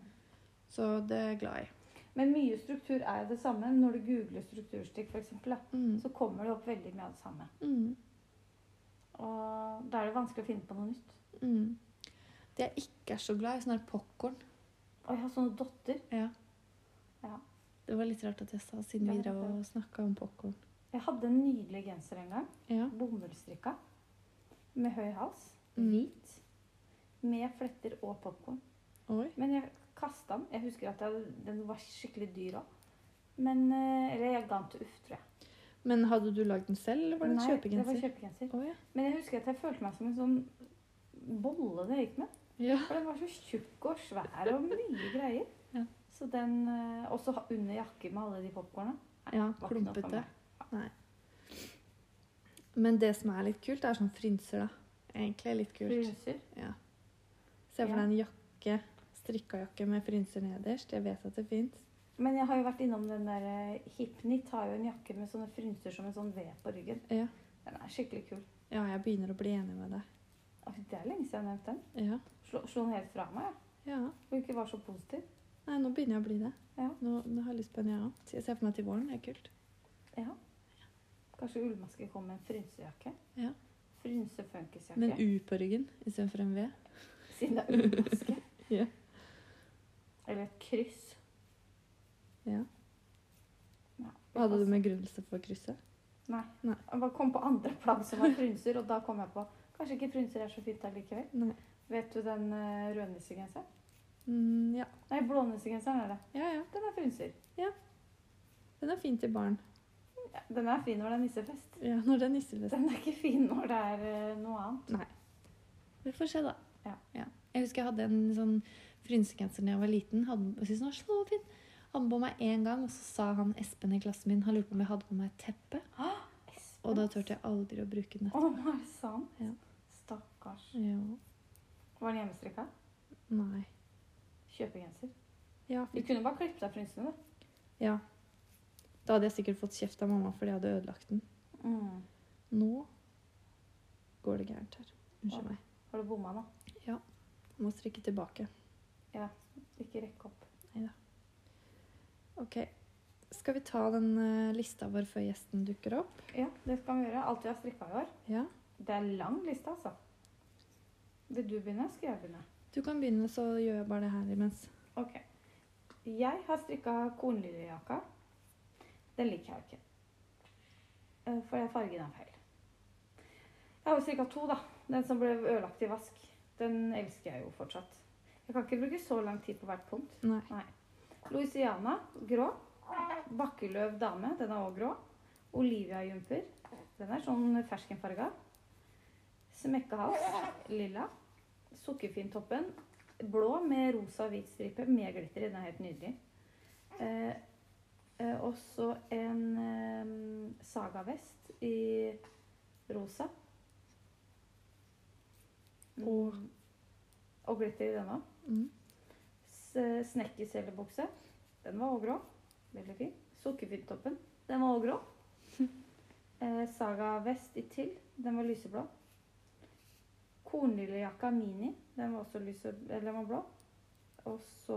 Så det er jeg glad i.
Men mye struktur er jo det samme. Når du googler strukturstikk, for eksempel, da,
Mm.
så kommer det opp veldig mye av det samme.
Mm.
Og da er det vanskelig å finne på noe nytt.
Mm. Det jeg ikke er så glad i, er sånn her popkorn.
Og jeg har sånne dotter.
Ja.
Ja.
Det var litt rart at jeg sa, siden vi
Ja,
drev
det-
og snakka om popkorn.
Jeg hadde en nydelig genser en gang.
Ja.
Bomullsstrikka. Med høy hals.
Mm.
Hvit. Med fletter og popkorn.
Oi.
Men jeg kasta den. Jeg husker at jeg, den var skikkelig dyr òg. Men eh, Eller jeg ga den til Uff, tror jeg.
Men hadde du lagd den selv, eller var det en
Nei, det var
kjøpegenser?
kjøpegenser.
Å ja.
Men jeg husker at jeg følte meg som en sånn bolle det gikk med.
ja.
For den var så tjukk og svær og mye greier.
Ja.
Så den, eh, Også ha- under jakken med alle de popkorna.
Ja,
var ikke noe for
klumpete.
meg.
Men det som er litt kult, er sånn frynser, da. Egentlig er litt kult.
Frynser.
Se for
Ja.
deg en jakke, strikka jakke med frynser nederst. Jeg vet at det fins.
Men jeg har jo vært innom den der eh, Hipnit har jo en jakke med sånne frynser som en sånn V på ryggen.
Ja.
Den er skikkelig kul.
ja, jeg begynner å bli enig med deg.
Oi, Det er lenge siden jeg har nevnt den.
Ja.
Slo, slo den helt fra meg. jeg.
ja.
Og ikke var så positiv.
Nei, nå begynner jeg å bli det.
Ja.
Nå, nå har jeg lyst på en, jeg ja. òg. Jeg ser for meg til våren. Det er kult.
Ja. Kanskje ullmaske kom med en frynsejakke.
Ja.
Frynsefunkisjakke.
Med en U på ryggen istedenfor en V.
Siden det er ullmaske.
Ja.
Eller et kryss.
Ja.
Ja,
Hva hadde du med begrunnelse for krysset?
Nei.
Nei.
Jeg bare kom på andre plagg som var frynser, og da kom jeg på Kanskje ikke frynser er så fint allikevel.
Nei.
Vet du den uh, rødnissegenseren?
Mm, ja.
Nei, blånissegenseren er det.
ja, ja.
Den er frynser.
Den er fin til barn.
Ja, Den er fin når det er nissefest.
Ja, når det er nissefest.
Den er ikke fin når det er eh, noe annet.
Vi får se, da.
Ja.
Jeg husker jeg hadde en sånn frynsegenser da jeg var liten. Hadde, den- jeg synes den var så fin. Hadde den på meg én gang, og så sa han Espen i klassen min Han lurte på om jeg hadde på meg et teppe. Og da turte jeg aldri å bruke den.
Å, er det sant?
Ja.
Stakkars.
Ja.
Var den hjemmestrikka?
Nei.
Kjøpegenser.
Ja,
Du
fikk-
kunne bare klippet av frynsene, du.
ja. Da hadde jeg sikkert fått kjeft av mamma fordi jeg hadde ødelagt den. Mm. Nå går det gærent her. Unnskyld
Ja.
meg.
Har du bomma nå?
Jeg må strikke tilbake.
Ikke rekke opp.
Ok. Skal vi ta den eh, lista vår før gjesten dukker opp?
Ja, det skal vi gjøre. Alt vi har strikka i år.
Ja.
Det er lang liste, altså. Vil du begynne, skal jeg begynne?
Du kan begynne, så gjør jeg bare det her imens.
Ok. Jeg har strikka kornliljejakka. Den liker jeg jo ikke. Eh, For den fargen er feil. Jeg har jo strikka to, da. Den som ble ødelagt i vask. Den elsker jeg jo fortsatt. Jeg kan ikke bruke så lang tid på hvert punkt.
Nei.
Louisiana, grå. Bakkeløv dame, den er òg grå. Olivia jumper, den er sånn ferskenfarga. Smekkehals, lilla. Sukkerfintoppen, Blå med rosa og hvit stripe med glitter i. Den er helt nydelig. Eh, eh, og så en eh, sagavest i rosa. Mm.
Åh.
Og glitter i den òg.
Mm.
S- Snekkercellebukse. Den var også grå. Veldig fin. Sukkerfinntoppen. Den var også grå. Eh, Saga vest i til. Den var lyseblå. Kornlillejakka mini. Den var også lyse, eller den var blå. Og så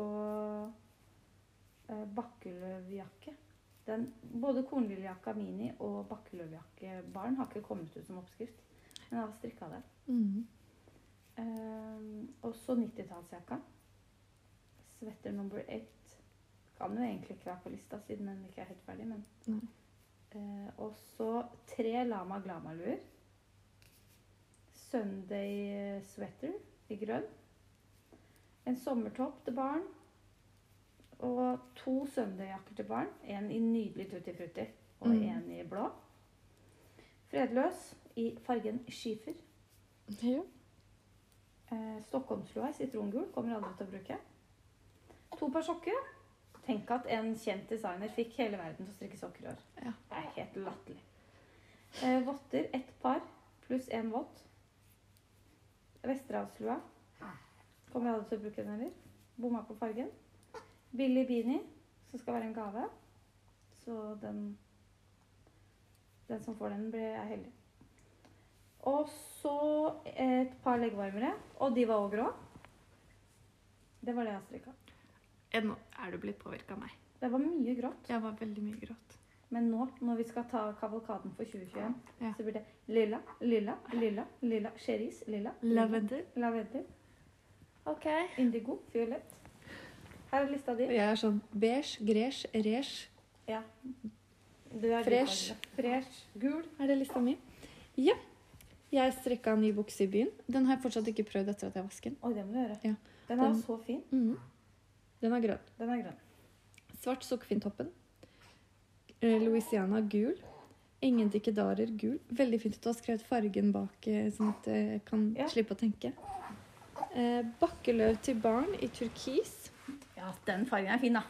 eh, bakkeløvjakke. Den, både kornlillejakka mini og bakkeløvjakke barn har ikke kommet ut som oppskrift. Men jeg har strikka det.
Mm.
Ehm, også 90-tallsjakka. Sweater number eight. Kan jo egentlig ikke være på lista siden den ikke er helt ferdig, men
Nei.
Eh, Og så tre Lama Glama-luer. Sunday sweater i grønn. En sommertopp til barn. Og to Sunday-jakker til barn. En i nydelig tutti frutti og
Mm.
en i blå. Fredløs i fargen skifer.
Ja.
Eh, Stockholmslua i sitrongul kommer aldri til å bruke. To par sokker. Tenk at en kjent designer fikk hele verden til å strikke sokker i år.
Ja.
Det er helt latterlig. Eh, votter ett par pluss én vott. Vesterålslua. Kommer aldri til å bruke den heller. Bomma på fargen. Billy beanie, som skal være en gave. Så den Den som får den, blir er heldig. Og så et par leggevarmere, og de var òg grå. Det var det jeg strikka.
Eh, Nå er du blitt påvirka av meg.
Det var mye grått.
Jeg var veldig mye gråt.
Men nå, når vi skal ta kavalkaden for 2021,
Ja.
så blir det lilla, lilla, lilla, lilla, cheris, lilla,
Lavendel.
lavendel,
Ok.
indigo, fiolett. Her er lista di.
Jeg er sånn beige, gresh, resh.
Ja. Du er
Fresh.
gullfarge. Fresh. Gul.
Er det lista mi? Ja. Jeg strikka en ny bukse i byen. Den har jeg fortsatt ikke prøvd etter at jeg vasket den.
Oi, det må du gjøre.
Ja.
Den er jo
Den-
så fin.
Mhm. Den er grønn.
Den er grønn.
Svart sukkerfinntoppen. Eh, Louisiana gul. Ingen dikkedarer gul. Veldig fint at du har skrevet fargen bak, eh, sånn at jeg kan
Ja.
slippe å tenke. Eh, Bakkeløv til barn i turkis.
Ja, den fargen er fin, da.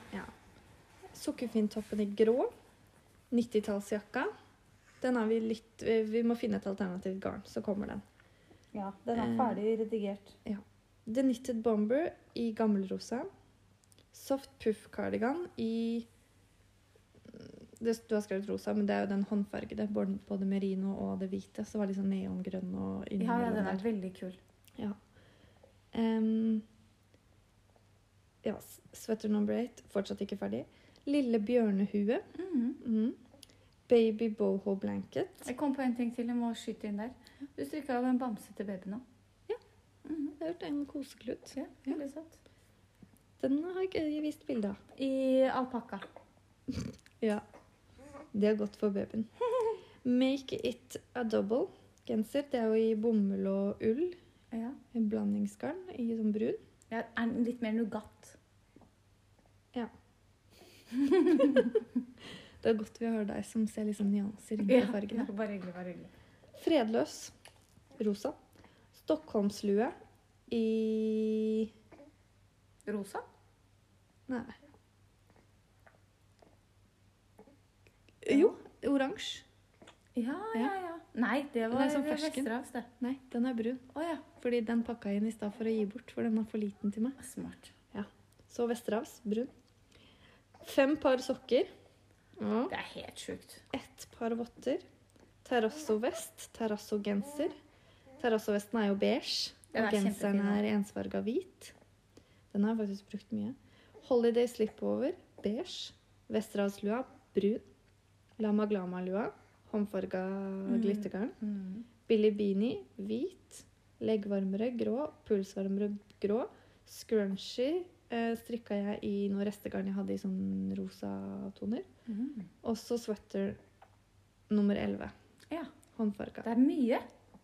Sukkerfinntoppen i grå. 90-tallsjakka. Den har vi litt eh, Vi må finne et alternativt garn, så kommer den.
Ja, Den er
Eh.
ferdig redigert.
The Knitted Bomber i gammelrosa. Soft Puff Cardigan i mm, det, Du har skrevet rosa, men det er jo den håndfargede. både- Både merino og det hvite. Så var det litt sånn neongrønn og
Ja, ja,
innimellom
den er
der.
veldig kul.
Em, ja, s- Sweater number eight. Fortsatt ikke ferdig. Lille bjørnehue.
Mhm.
Mm. Baby boho blanket.
Jeg kom på en ting til jeg må skyte inn der. Du strikka jo en bamse til baby nå. Mhm.
Det er en koseklut.
Ja, veldig søtt.
Den har jeg ikke vist bilde av.
I alpakka.
Ja. Det er godt for babyen. Make it a double genser. Det er jo i bomull og ull.
Ja.
En blandingsgarn i sånn brun.
Ja, er den litt mer nougat?
Det er godt vi har deg som ser liksom nyanser inn i
Ja, ja,
fargene.
bare hyggelig, bare hyggelig.
Fredløs rosa. Stockholmslue i
Rosa?
Nei. Jo, oransje.
Ja, ja, ja. Nei, det var
Nei, sånn
ved
fersken.
Vesterålen, det.
Nei, den er brun.
Å ja.
Fordi den pakka jeg inn i stad for å gi bort, for den var for liten til meg.
Smart.
Så Vesteravs, brun. Fem par sokker. Ja.
Det er helt sjukt.
Ett par votter. Terrassovest, terrassogenser. Terrassovesten er jo beige,
Den
og
er
genseren
kjempefin,
er ensfarga hvit. Den har jeg faktisk brukt mye. Holiday slipover, beige. Vesteravslua, brun. Lama glama-lua, håndfarga
Mm.
glittergarn. Billy Beanie, hvit. Leggvarmere, grå. Pulsvarmere, grå. Scrunchy eh, strikka jeg i noe restegarn jeg hadde i sånn rosa toner.
Mhm.
Også sweater nummer 11.
Ja. Det
Håndfarga.
er mye.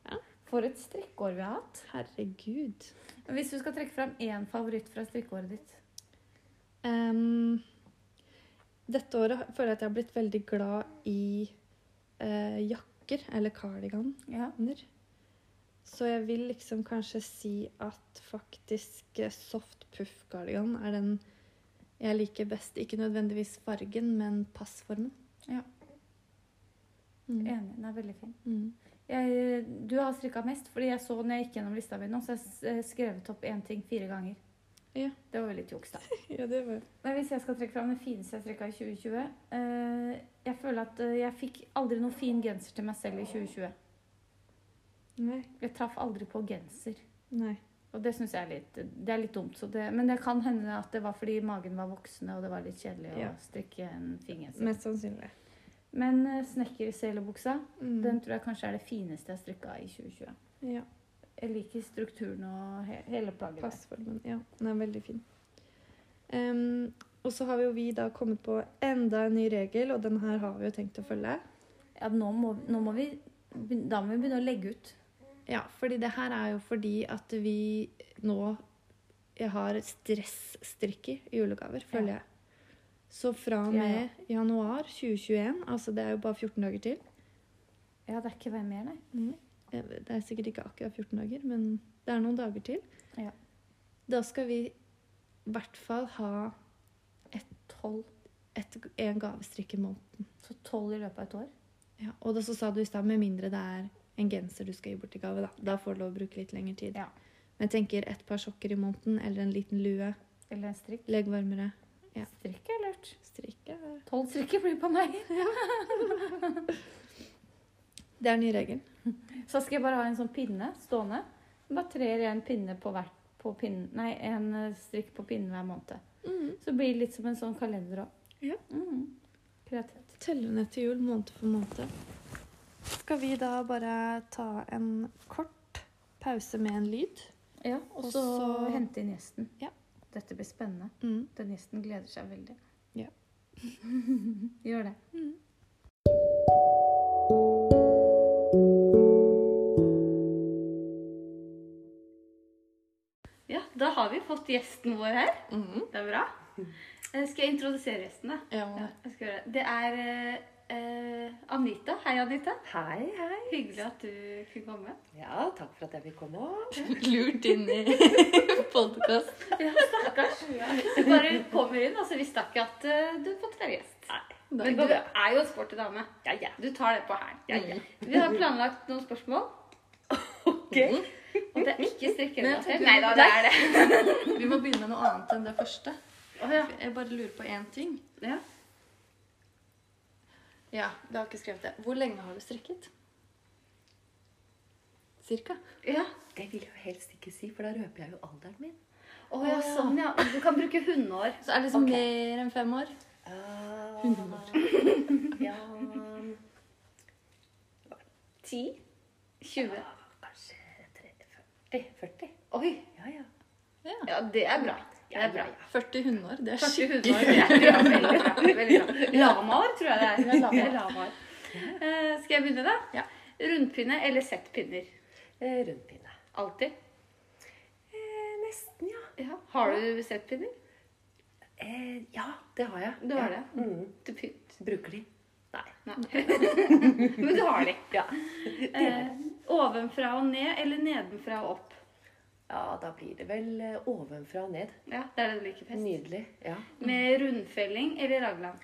Ja.
For et strikkeår vi har hatt.
Herregud.
Hvis du skal trekke fram én favoritt fra strikkeåret ditt
Em, dette året har- føler jeg at jeg har blitt veldig glad i eh, jakker, eller cardiganer.
Ja.
Så jeg vil liksom kanskje si at faktisk eh, soft puff-gardigan er den jeg liker best. Ikke nødvendigvis fargen, men passformen.
Ja.
Mm.
Enig. Den er veldig fin.
Mm.
Jeg, du har strikka mest, fordi jeg så når jeg gikk gjennom lista mi nå, så jeg s- eh, skrevet opp én ting fire ganger.
Ja.
Det var veldig tjuks, da.
Ja, det var
Men hvis jeg skal trekke fram det fineste jeg strikka i 2020 eh, Jeg føler at eh, jeg fikk aldri noen fin genser til meg selv i 2020.
Nei.
Jeg traff aldri på genser.
Nei.
Og det syns jeg er litt, det er litt dumt. Så det, men det kan hende at det var fordi magen var voksende, og det var litt kjedelig
Ja.
å strikke en fin genser. Men,
Mest sannsynlig.
eh, snekker i selebuksa,
Mm.
den tror jeg kanskje er det fineste jeg strikka i 2020.
Ja.
Jeg liker strukturen og he hele plagget. der.
Passformen. Ja, den er veldig fin. Ehm, og så har jo vi da kommet på enda en ny regel, og den her har vi jo tenkt å følge.
Ja, nå må, nå må vi begyn- Da må vi begynne å legge ut.
Ja, fordi det her er jo fordi at vi nå Jeg har stressstrikker i julegaver, føler
Ja.
jeg. Så fra og
Ja,
med januar 2021, altså det er jo bare 14 dager til
Ja, det er ikke hvem mer, nei.
Jeg vet- Det er sikkert ikke akkurat 14 dager, men det er noen dager til.
Ja.
Da skal vi i hvert fall ha
Tolv.
et, en gavestrikk i måneden.
Så tolv i løpet av et år.
Ja, og da så sa du i stad med mindre det er en genser du skal gi bort i gave, da. Da får du lov å bruke litt lengre tid.
Ja.
Men jeg tenker et par sokker i måneden eller en liten lue.
Eller en strikk.
Legg varmere. Ja.
Strikk er lurt.
Strikke
Tolv strikker blir på meg.
Det er ny regel.
Så skal jeg bare ha en sånn pinne stående. Da trer jeg en pinne på hvert på pinnen, Nei, en eh, strikk på pinnen hver måned.
Mm.
Så det blir litt som en sånn kalender òg.
Ja.
Mm. Kreativt.
Telle ned til jul måned for måned. Skal vi da bare ta en kort pause med en lyd?
Ja, og
Og
så
så-
hente inn gjesten.
Ja.
Dette blir spennende.
Mm.
Den gjesten gleder seg veldig.
Ja. Mm.
Gjør det. Ja, da har vi fått gjesten vår her.
Mm-hmm.
Det er bra. Eh, Skal jeg introdusere gjesten, da?
Ja.
Ja, jeg skal gjøre det. Det er eh, eh, Anita. Hei, Anita.
Hei, hei.
Hyggelig at du kunne komme.
Ja, takk for at jeg fikk komme.
Lurt inn i podkast.
Ja, stakkars. Du bare kommer inn. altså Visste ikke at eh, du fått være gjest. Men du er jo en sporty dame.
Ja, ja.
Du tar det på hælen. Mm.
ja, ja.
Vi har planlagt noen spørsmål,
Ok.
og det er ikke strikkerelatert.
Men jeg tenker-
Nei da, det er det.
Vi må begynne med noe annet enn det første.
Å, ja.
Jeg bare lurer på én ting.
Ja.
Ja, det har ikke skrevet det. Hvor lenge har du strikket? Cirka.
Ja.
Det vil jeg jo helst ikke si, for da røper jeg jo alderen min.
Å ja, sånn, ja. Du kan bruke hundeår.
Så er det liksom
Ok.
mer enn fem år?
Ah,
Hundre
Ja,
Ti? 20?
kanskje 30, 40.
Oi.
Ja, ja.
Ja.
Ja, det er bra. Det er bra.
40 hundeår. Det er
Første
skikkelig
hundeår. det er- Ja, veldig bra. veldig bra. Lamaer, tror jeg det er. Det er lamaer. Eh, skal jeg begynne, da?
Ja.
Rundpinne eller settpinner?
Eh, Rundpinne.
Alltid.
Eh, nesten, ja.
Ja. Har du settpinner?
Eh, ja, det har jeg.
Du har
ja.
det?
Mm.
Du pynt.
Bruker de? Nei.
Nei. Men du har de.
Ja.
Eh, ovenfra og ned eller nedenfra og opp?
ja, da blir det vel eh, ovenfra og ned.
Ja, Det er det du liker best.
Nydelig. Ja.
Med rundfelling eller raglan?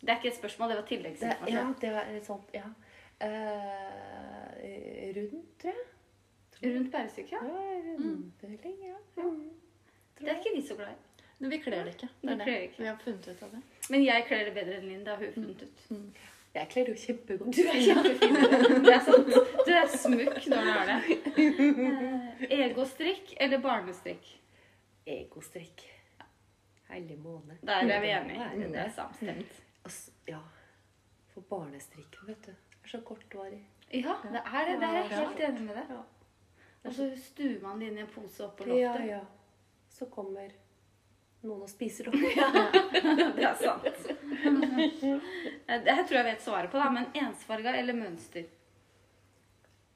Det er ikke et spørsmål, det var
Det, ja,
tilleggsinformasjon.
det var et sånt, ja. Eh, rund, tror jeg.
Rundt bærestykket? Ja.
Ja, rundfylling, ja. Mm.
Det er ikke vi så glad i.
Men vi kler det ikke.
Vi kler det ikke.
Vi har funnet ut av det. Mm.
Men jeg kler det bedre enn Linn. Det har hun funnet ut.
Jeg kler jo kjempegodt.
Du er kjempefin. Det er sant. Du er smukk når du er det. Eh, Egostrikk eller barnestrikk?
Egostrikk. Hellig måne.
Der er vi enige.
Mm.
Det er samstemt.
Altså, ja. For barnestrikken, vet du, er så kortvarig.
Ja, det er det. Der er jeg helt enig med deg. Og så stuer man det inn i en pose oppå
Ja,
loftet.
ja. Så kommer noen og spiser opp.
Det er sant. Eh, Det her tror jeg vet svaret på, da, men ensfarga eller mønster?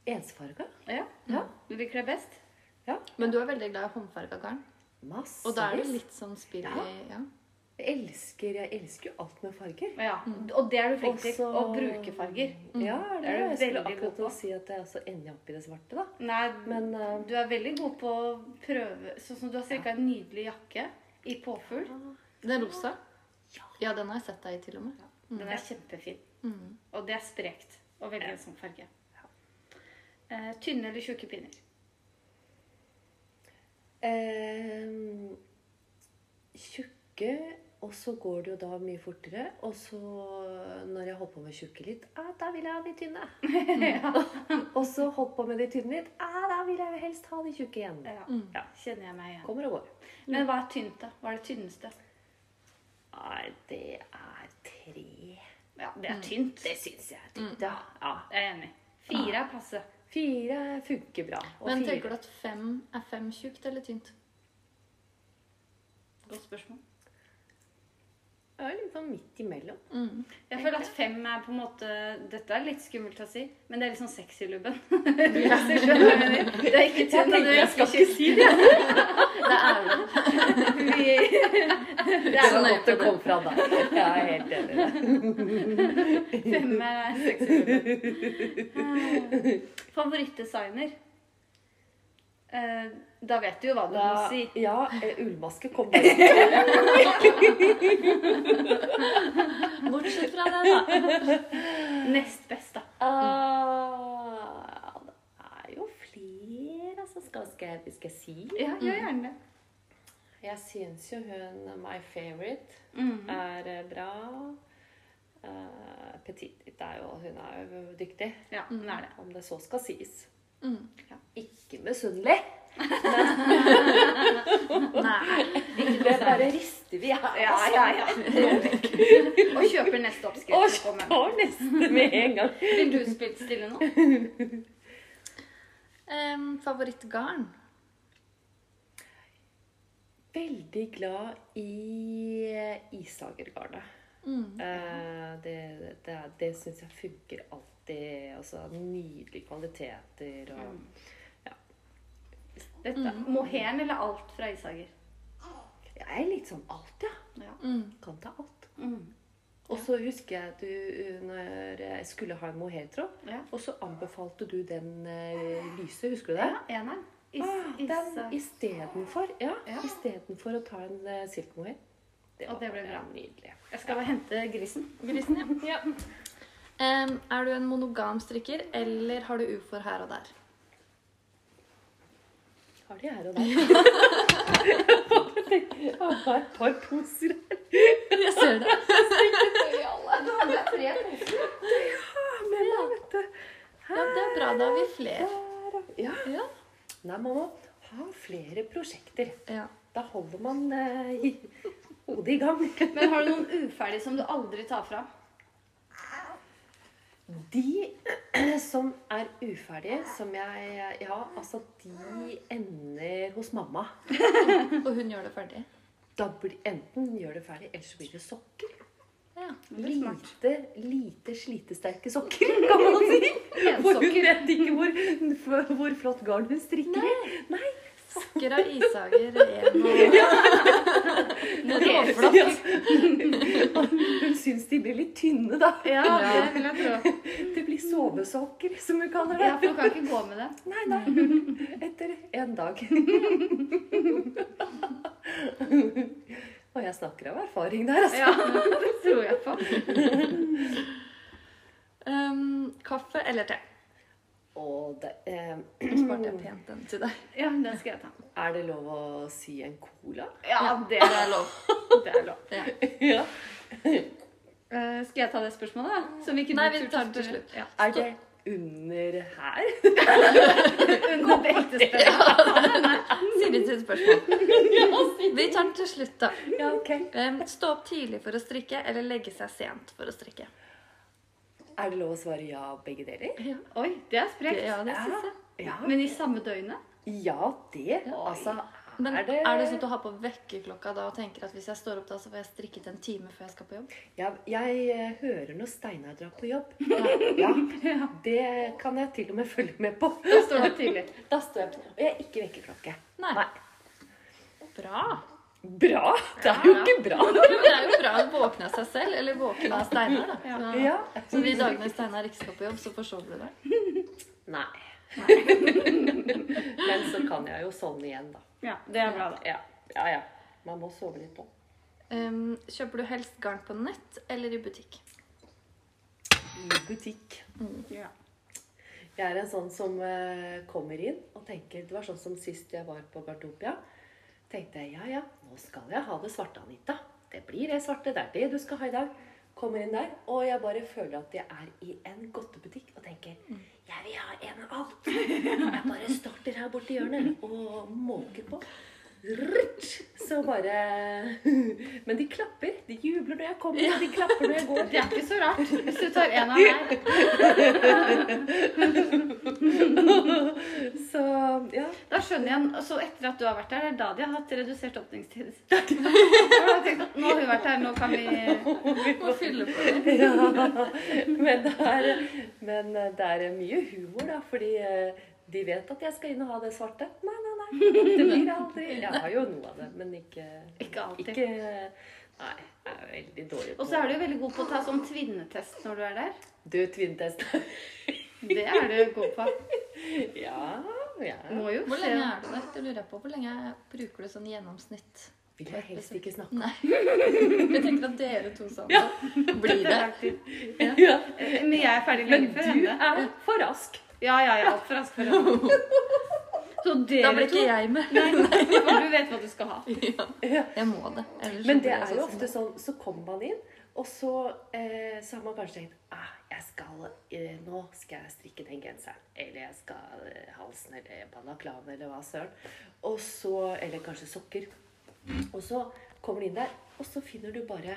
Ensfarga?
Ja.
Ja.
Du liker det best?
Ja.
Men du er veldig glad i håndfarga garn.
Massevis.
Og da er det litt sånn spill i
Ja.
ja.
Jeg elsker, jeg elsker jo alt med farger.
Ja,
Mm.
og det er du flink til.
Også-
Å bruke farger.
Ja, det er det. Jeg skulle
veldig god
akkurat til
på.
å si at jeg også ender opp i det svarte, da.
Nei,
Men eh,
du er veldig god på å prøve Sånn som du har strikka en nydelig jakke i påfugl.
Den rosa? Ja, den har jeg sett deg i, til og med.
Den er kjempefin.
Mm.
Og det er sprekt å velge en sånn farge. Eh, tynne eller tjukke pinner?
eh, Tjukke, og så går det jo da mye fortere. Og så, når jeg holdt på med tjukke litt, ah, da vil jeg ha de tynne. og så holdt på med de tynne litt, ah, da vil jeg jo helst ha de tjukke igjen.
Ja,
Mm.
ja, kjenner jeg meg igjen.
Kommer og går.
Men hva er tynt, da? Hva er det tynneste?
Nei, det er tre.
Ja, det
Mm.
er tynt.
Det syns jeg er tynt, ja. ja.
Jeg er enig. Fire
Ah.
er passe.
Fire funker bra. Og
Men
fire-
tenker du at fem er fem tjukt eller tynt?
Godt spørsmål.
Ja, litt sånn midt imellom.
Mm.
Jeg føler at fem er på en måte Dette er litt skummelt å si, men det er litt sånn sexy-lubben. Hvis du skjønner hva jeg mener. Det er ikke tynt, og du er ikke kyss.
si det.
Det er det.
Det
Sånn
er så godt det kom fra deg. Jeg er helt enig. i det.
Fem er sexy-lubben. Eh, Favorittdesigner. Eh, Da vet du jo hva du må si.
ja, eh, ullmaske kom bare.
Bortsett fra det, da.
Nest best, da. Mm.
Ah, det er jo flere, altså. Skal, skal, jeg, skal jeg si?
Ja, gjør gjerne det.
Jeg syns jo hun My Favorite
Mm.
er eh, bra. Eh, Petit Ditt er jo Hun er jo dyktig.
Ja, det er det.
Om det så skal sies.
Mm.
Ikke misunnelig.
Nei.
Det bare rister vi av.
Ja, ja, ja. Og kjøper neste
Og
oppskrift. og kommer.
tar nesten med en gang.
Vil du spille stille nå?
Em, favorittgarn?
Veldig glad i isagergarnet.
Mm.
Eh, Det, det, er- det syns jeg funker alltid. Altså nydelige kvaliteter og
Mm. Dette. Mohair Mm. eller alt fra Isager?
Jeg er litt sånn alt, ja.
Ja.
Mm.
Kan ta alt.
Mm.
Og så husker jeg at du, når jeg skulle ha en mohairtråd,
Ja.
og så anbefalte du den eh, lyse, husker du det?
Eneren. Is,
Ah,
isa-
den istedenfor. Ja,
Ja.
istedenfor å ta en eh, silkemohair. Det
Og det ble
bare
bra.
nydelig.
Jeg skal bare hente grisen.
Grisen, ja. Em, er du en monogam strikker, eller har du ufor her og der?
Har de her og der. Jeg har et par poser her.
Jeg ser det.
Men da, vet du.
Ja, det er bra. Da har vi flere.
Der, og- ja.
Ja.
Nei, man må ha flere prosjekter.
Ja.
Da holder man eh, i- hodet i gang.
Men har du noen uferdige som du aldri tar fra?
De eh, som er uferdige, som jeg Ja, altså, de ender hos mamma.
Og hun gjør det ferdig.
Da blir, enten gjør det ferdig, eller så blir det sokker.
Ja.
Lite, lite slitesterke sokker, kan man si. For hun vet ikke hvor, hvor flott garn hun strikker i. Nei.
Sokker av isager, en og Råflott.
Hun syns de blir litt tynne, da.
Ja,
Ja.
det vil jeg tro.
Det blir sovesokker, som hun kaller det.
Ja, for du kan ikke gå med det.
Nei, nei. Etter en dag. Og jeg snakker av erfaring der, altså.
Ja, det tror jeg på.
um, Kaffe eller te?
Og det, eh,
Nå sparte jeg pent den til deg.
Ja, den skal jeg ta.
er det lov å si en cola?
Ja, det er lov. Det er lov.
Ja.
Eh, skal jeg ta det spørsmålet, da? Som vi kunne
Nei, vi
turt
tar det til
spørre-
slutt.
Ja.
Er det under her?
Under beltespennet.
Siri sitt spørsmål. Vi tar den til slutt, da.
Ja, ok.
Um, stå opp tidlig for å strikke, eller legge seg sent for å strikke?
Er det lov å svare ja begge deler?
Oi, det er sprekt.
Ja, det
Ja.
synes jeg.
Ja,
Men i samme døgnet?
ja det. Altså,
Men
er det,
sånn at du har på vekkerklokka da og tenker at hvis jeg står opp da, så får jeg strikket en time før jeg skal på jobb?
ja, Jeg eh, hører når Steinar drar på jobb. Ja, det kan jeg til og med følge med på.
Da står det tidlig.
Da står jeg på. Og jeg er ikke vekkerklokke.
Nei.
Nei.
Bra.
bra. Det er jo
Ja.
ikke bra.
Men det er jo bra å våkne av seg selv, eller våkne av Steinar, da. Så-
Ja.
Så de dagene Steinar ikke skal på jobb, så forsover du deg.
Nei. Men så kan jeg jo sovne igjen, da.
Ja, det er bra, da.
Ja, ja. ja. Man må sove litt òg.
Ehm, kjøper du helst garn på nett eller i butikk?
I butikk.
Ja.
Jeg er en sånn som eh, kommer inn og tenker Det var sånn som sist jeg var på Bartopia. Tenkte jeg ja, ja, nå skal jeg ha det svarte, Anita. Det blir det svarte. Det er det du skal ha i dag. Kommer inn der, og jeg bare føler at jeg er i en godtebutikk og tenker jeg vil ha en av alt. Jeg bare starter her borti hjørnet og måker på. Rrrt, så bare Men de klapper. De jubler når jeg kommer, og de klapper når jeg går.
Det er ikke så rart hvis du tar en av hver.
Så ja.
Da skjønner jeg, så etter at du har vært her, det er da de har hatt redusert åpningstid. Da har jeg tenkt at Nå har vi vært her, nå kan vi
Må fylle på det.
Ja, men det, er, men det er mye humor, da. Fordi eh, de vet at jeg skal inn og ha det svarte. Nei, nei, nei. Det blir aldri. Jeg har jo noe av det, men ikke,
Ikke alltid.
ikke Nei, jeg er veldig dårlig på
Og så er du jo veldig god på å ta sånn tvinnetest når du er der.
Du, tvintest.
Det er du god på.
Ja, ja.
Må jo
Hvor
se.
lenge er du der? Det lurer jeg på. Hvor lenge bruker du sånn gjennomsnitt?
Vil jeg helst ikke snakke
Nei. Jeg tenker at dere to sammen blir
Det er
det.
lang tid. Eh,
om det.
Men jeg er ferdig
Men
lenge før
du
henne.
er for rask.
Ja, ja, ja. Altfor rask for henne. Så
Da blir
dere to
ikke jeg med.
Du vet hva du skal ha.
Jeg må det. ellers så blir
Men det
jeg
er jo
sånn som
ofte sånn, så kommer man inn, og så, eh, så har man kanskje tenkt ah, jeg skal, eh, Nå skal jeg strikke den genseren. Eller jeg skal eh, halsen eller balaklaven eller hva søren. Og så, Eller kanskje sokker. Og så kommer du inn der, og så finner du bare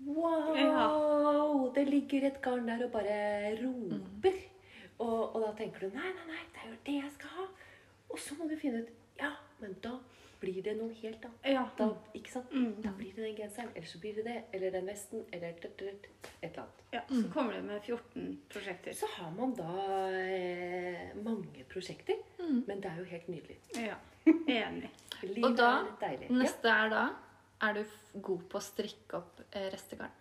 Wow! Det ligger et garn der og bare roper. Og, og da tenker du nei, nei, nei, det er jo det jeg skal ha. Og så må du finne ut Ja, men da blir det noe helt annet.
Ja.
Da, ikke sant?
Mm.
da blir det den genseren, eller så blir det det, eller den vesten, eller tørt, tørt, et eller annet.
ja. Så kommer du med 14 prosjekter.
Så har man da eh, mange prosjekter, men det er jo helt nydelig.
Ja. Enig.
Livet
Og da,
er litt deilig. Ja.
neste er da, er du f- god på å strikke opp eh, restegarn?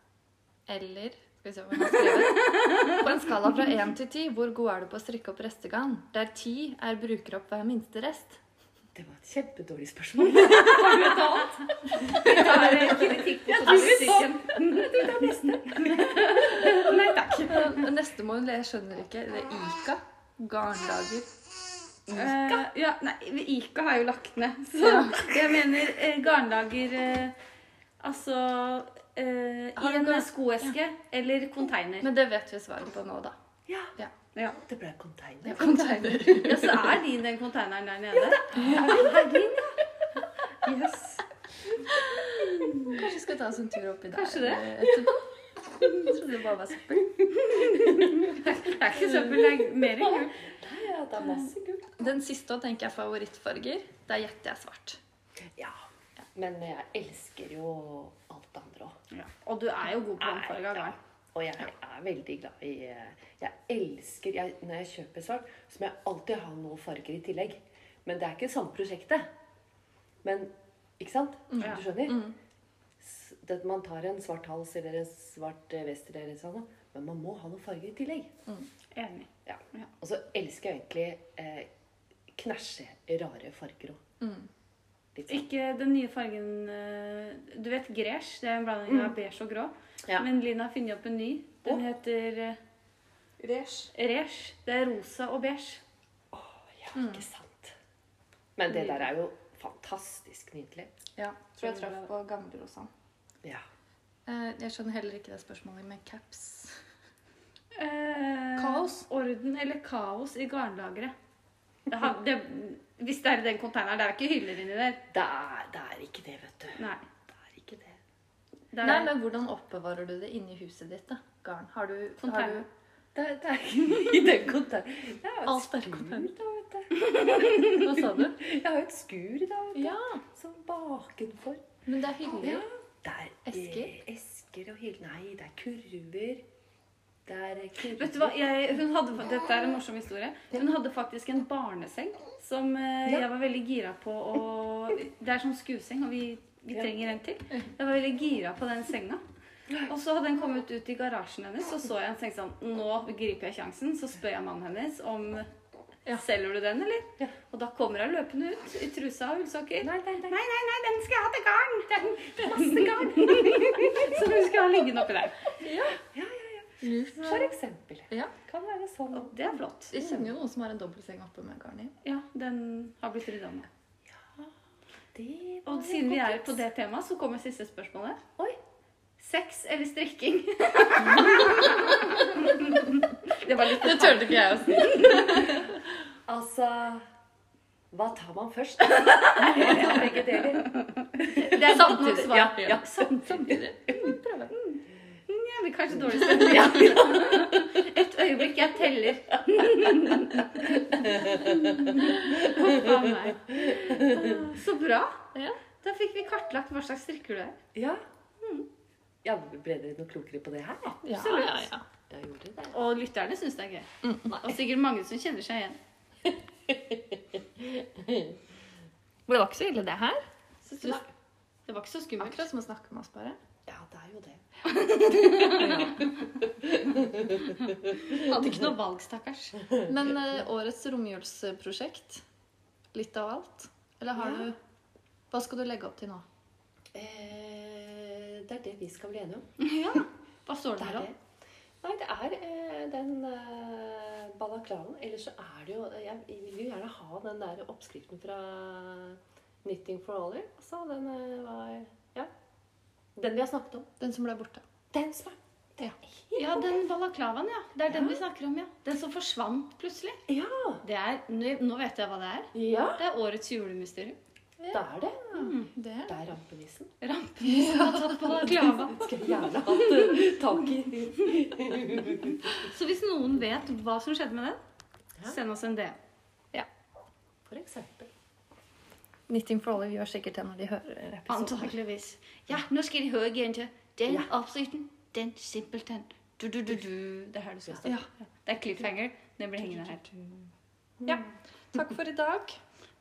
Eller, skal vi se hva man skriver, på en skala fra 1 til 10, hvor god er du på å strikke opp restegarn? Der 10 er bruker opp hver minste rest.
Det var et kjempedårlig spørsmål. Har du et annet?
Vi tar eh, kritikk på statistikken. Nei takk.
Eh, Neste må hun le, jeg skjønner ikke, det er Ica, garnlager.
Eh, ja, nei, Ica har jo lagt ned. Så jeg mener eh, garnlager eh, Altså eh,
Har
i
du
en
garn-
skoeske eller container.
Men det vet vi svaret på nå da.
Ja.
Ja.
Ja.
Det ble container.
Container.
ja, så er din den containeren der nede. Yes.
Kanskje vi skal ta oss en tur opp i der.
Kanskje det.
eh, etterpå. Jeg trodde det bare var søppel.
Det er ikke søppel, det er mer gull.
Ja, det er masse gull.
Den siste å tenke er favorittfarger. Der gjetter jeg svart.
Ja. Men jeg elsker jo alt det andre òg.
Ja. Og du er jo god på håndfarge av garn.
Og jeg er veldig glad i eh, Jeg elsker jeg, Når jeg kjøper svart, så må jeg alltid ha noen farger i tillegg. Men det er ikke samme prosjektet. Men Ikke sant? Du skjønner? S- Det, man tar en svart hals eller en svart eh, vest eller sånn, men man må ha noen farger i tillegg.
Enig.
Ja.
Ja.
Og så elsker jeg egentlig eh, knæsje rare farger òg. Litt sånn.
Ikke den nye fargen eh, Du vet gresj? Det er en blanding av beige og grå.
Ja.
Men Lina har funnet opp en ny. Den heter eh, Resh. Det er rosa og beige.
Ja, ikke sant? Men det der er jo fantastisk nydelig.
Ja, tror jeg traff på gamlerosaen.
Ja.
Eh, Jeg skjønner heller ikke det spørsmålet med caps.
Eh,
Kaos?
Orden eller kaos i garnlageret. Det har- det- Hvis det er i den konteineren. Det er jo ikke hyller inni der.
Det er, det er ikke det, vet du.
Nei.
Det er ikke det.
Det er,
Nei, men hvordan oppbevarer du det inni huset ditt, da? Garn. Har du, har
Container.
du
Det er, det er ikke i den konteineren. Jeg har jo et
Alt er
skur,
container.
da, vet du.
Hva sa du?
Jeg har jo et skur, da, vet du.
Ja,
Som bakenfor.
men det er hyggelig.
Det er eh,
Esker?
esker og hyll... Nei, det er kurver. Det er kurv.
Vet du hva, jeg, hun hadde, fa- Dette er en morsom historie. Hun hadde faktisk en barneseng som eh,
Ja.
jeg var veldig gira på å Det er sånn skueseng, og vi, vi
Ja.
trenger en til. Jeg var veldig gira på den senga. Og så hadde den kommet ut i garasjen hennes, og så jeg og tenkte sånn Nå griper jeg sjansen. Så spør jeg mannen hennes om Selger du den, eller?
Ja.
Og da kommer hun løpende ut i trusa og ullsokker. Nei, nei, nei, nei, den skal jeg ha til garn! Det er masse garn! så hun skal ha liggende oppi der.
For eksempel.
Ja.
Kan være sånn.
Og det er flott.
Jeg kjenner jo noen som har en dobbeltseng oppe med garn i.
Ja, den har blitt rydda med.
Det var
Og siden vi er
godt
på det temaet, så kommer siste spørsmålet.
Oi.
Sex eller strikking? det var litt
Det turte ikke jeg å si.
tips. Altså Hva tar man først? Jeg tar begge deler.
Det er godt nok
Samtidig,
svar.
ja, ja.
samtidig. Mm,
Prøve.
Ja, vi er kanskje dårlig stemning. Et øyeblikk, jeg teller. Huff a meg. Ah, Så bra.
Ja.
Da fikk vi kartlagt hva slags strikker du er.
Ja. ja. Ble dere noe klokere på det her?
Ja,
Absolutt.
ja, ja.
Jeg gjorde det.
Og lytterne syns det er gøy.
nei.
Og sikkert mange som kjenner seg igjen.
Men det var ikke så ille, det her. Synes du?
Nei. Det var ikke så skummelt.
Akkurat som å snakke med oss, bare.
Ja, det er jo det.
Hadde ikke noe valg, stakkars.
Men eh, årets romjulsprosjekt, litt av alt? Eller har
Ja.
du Hva skal du legge opp til nå?
Eh, det er det vi skal bli enige om.
Ja. Hva står
Det
det
er
her om?
det. Nei, det er eh, den eh, balaklavaen. Eller så er det jo Jeg vil jo gjerne ha den der oppskriften fra Knitting for Aller. Altså, den eh, var Ja. Den vi har snakket om.
Den som ble borte.
Den som er
Ja.
Ja, den balaklavaen, ja. Det er den vi snakker om, ja. Den som forsvant plutselig.
Ja!
Det er, nå nå vet jeg hva det er.
Ja,
Det er årets julemysterium.
det er det.
Mm, Det er
Det er rampenissen.
Rampenissen har tatt balaklavaen.
Skulle jeg gjerne hatt eh, tak i.
Så hvis noen vet hva som skjedde med den, send oss en DM.
For eksempel.
Knitting for Olive gjør sikkert det når de hører episoden.
Antakeligvis. Ja, nå skal de høre igjen til den oppskriften. Den simpelthen. Du, du, du, du. Det er her du skal stå.
Ja.
Det er cliffhanger. Den blir hengende her.
Ja. Takk for i dag.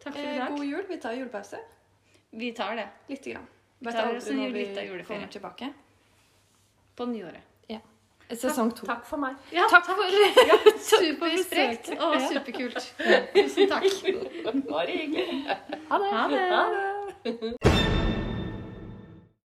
Takk for i
Eh,
dag.
god jul. Vi tar julepause.
Vi tar det
Lite grann.
tar oss en jul- litt av juleferie.
kommer tilbake.
på nyåret.
Sesong to.
Takk for meg.
Ja,
Takk for
Supersprekt og superkult. Tusen takk.
Bare hyggelig.
Ha det.
Ha det.
Ha det.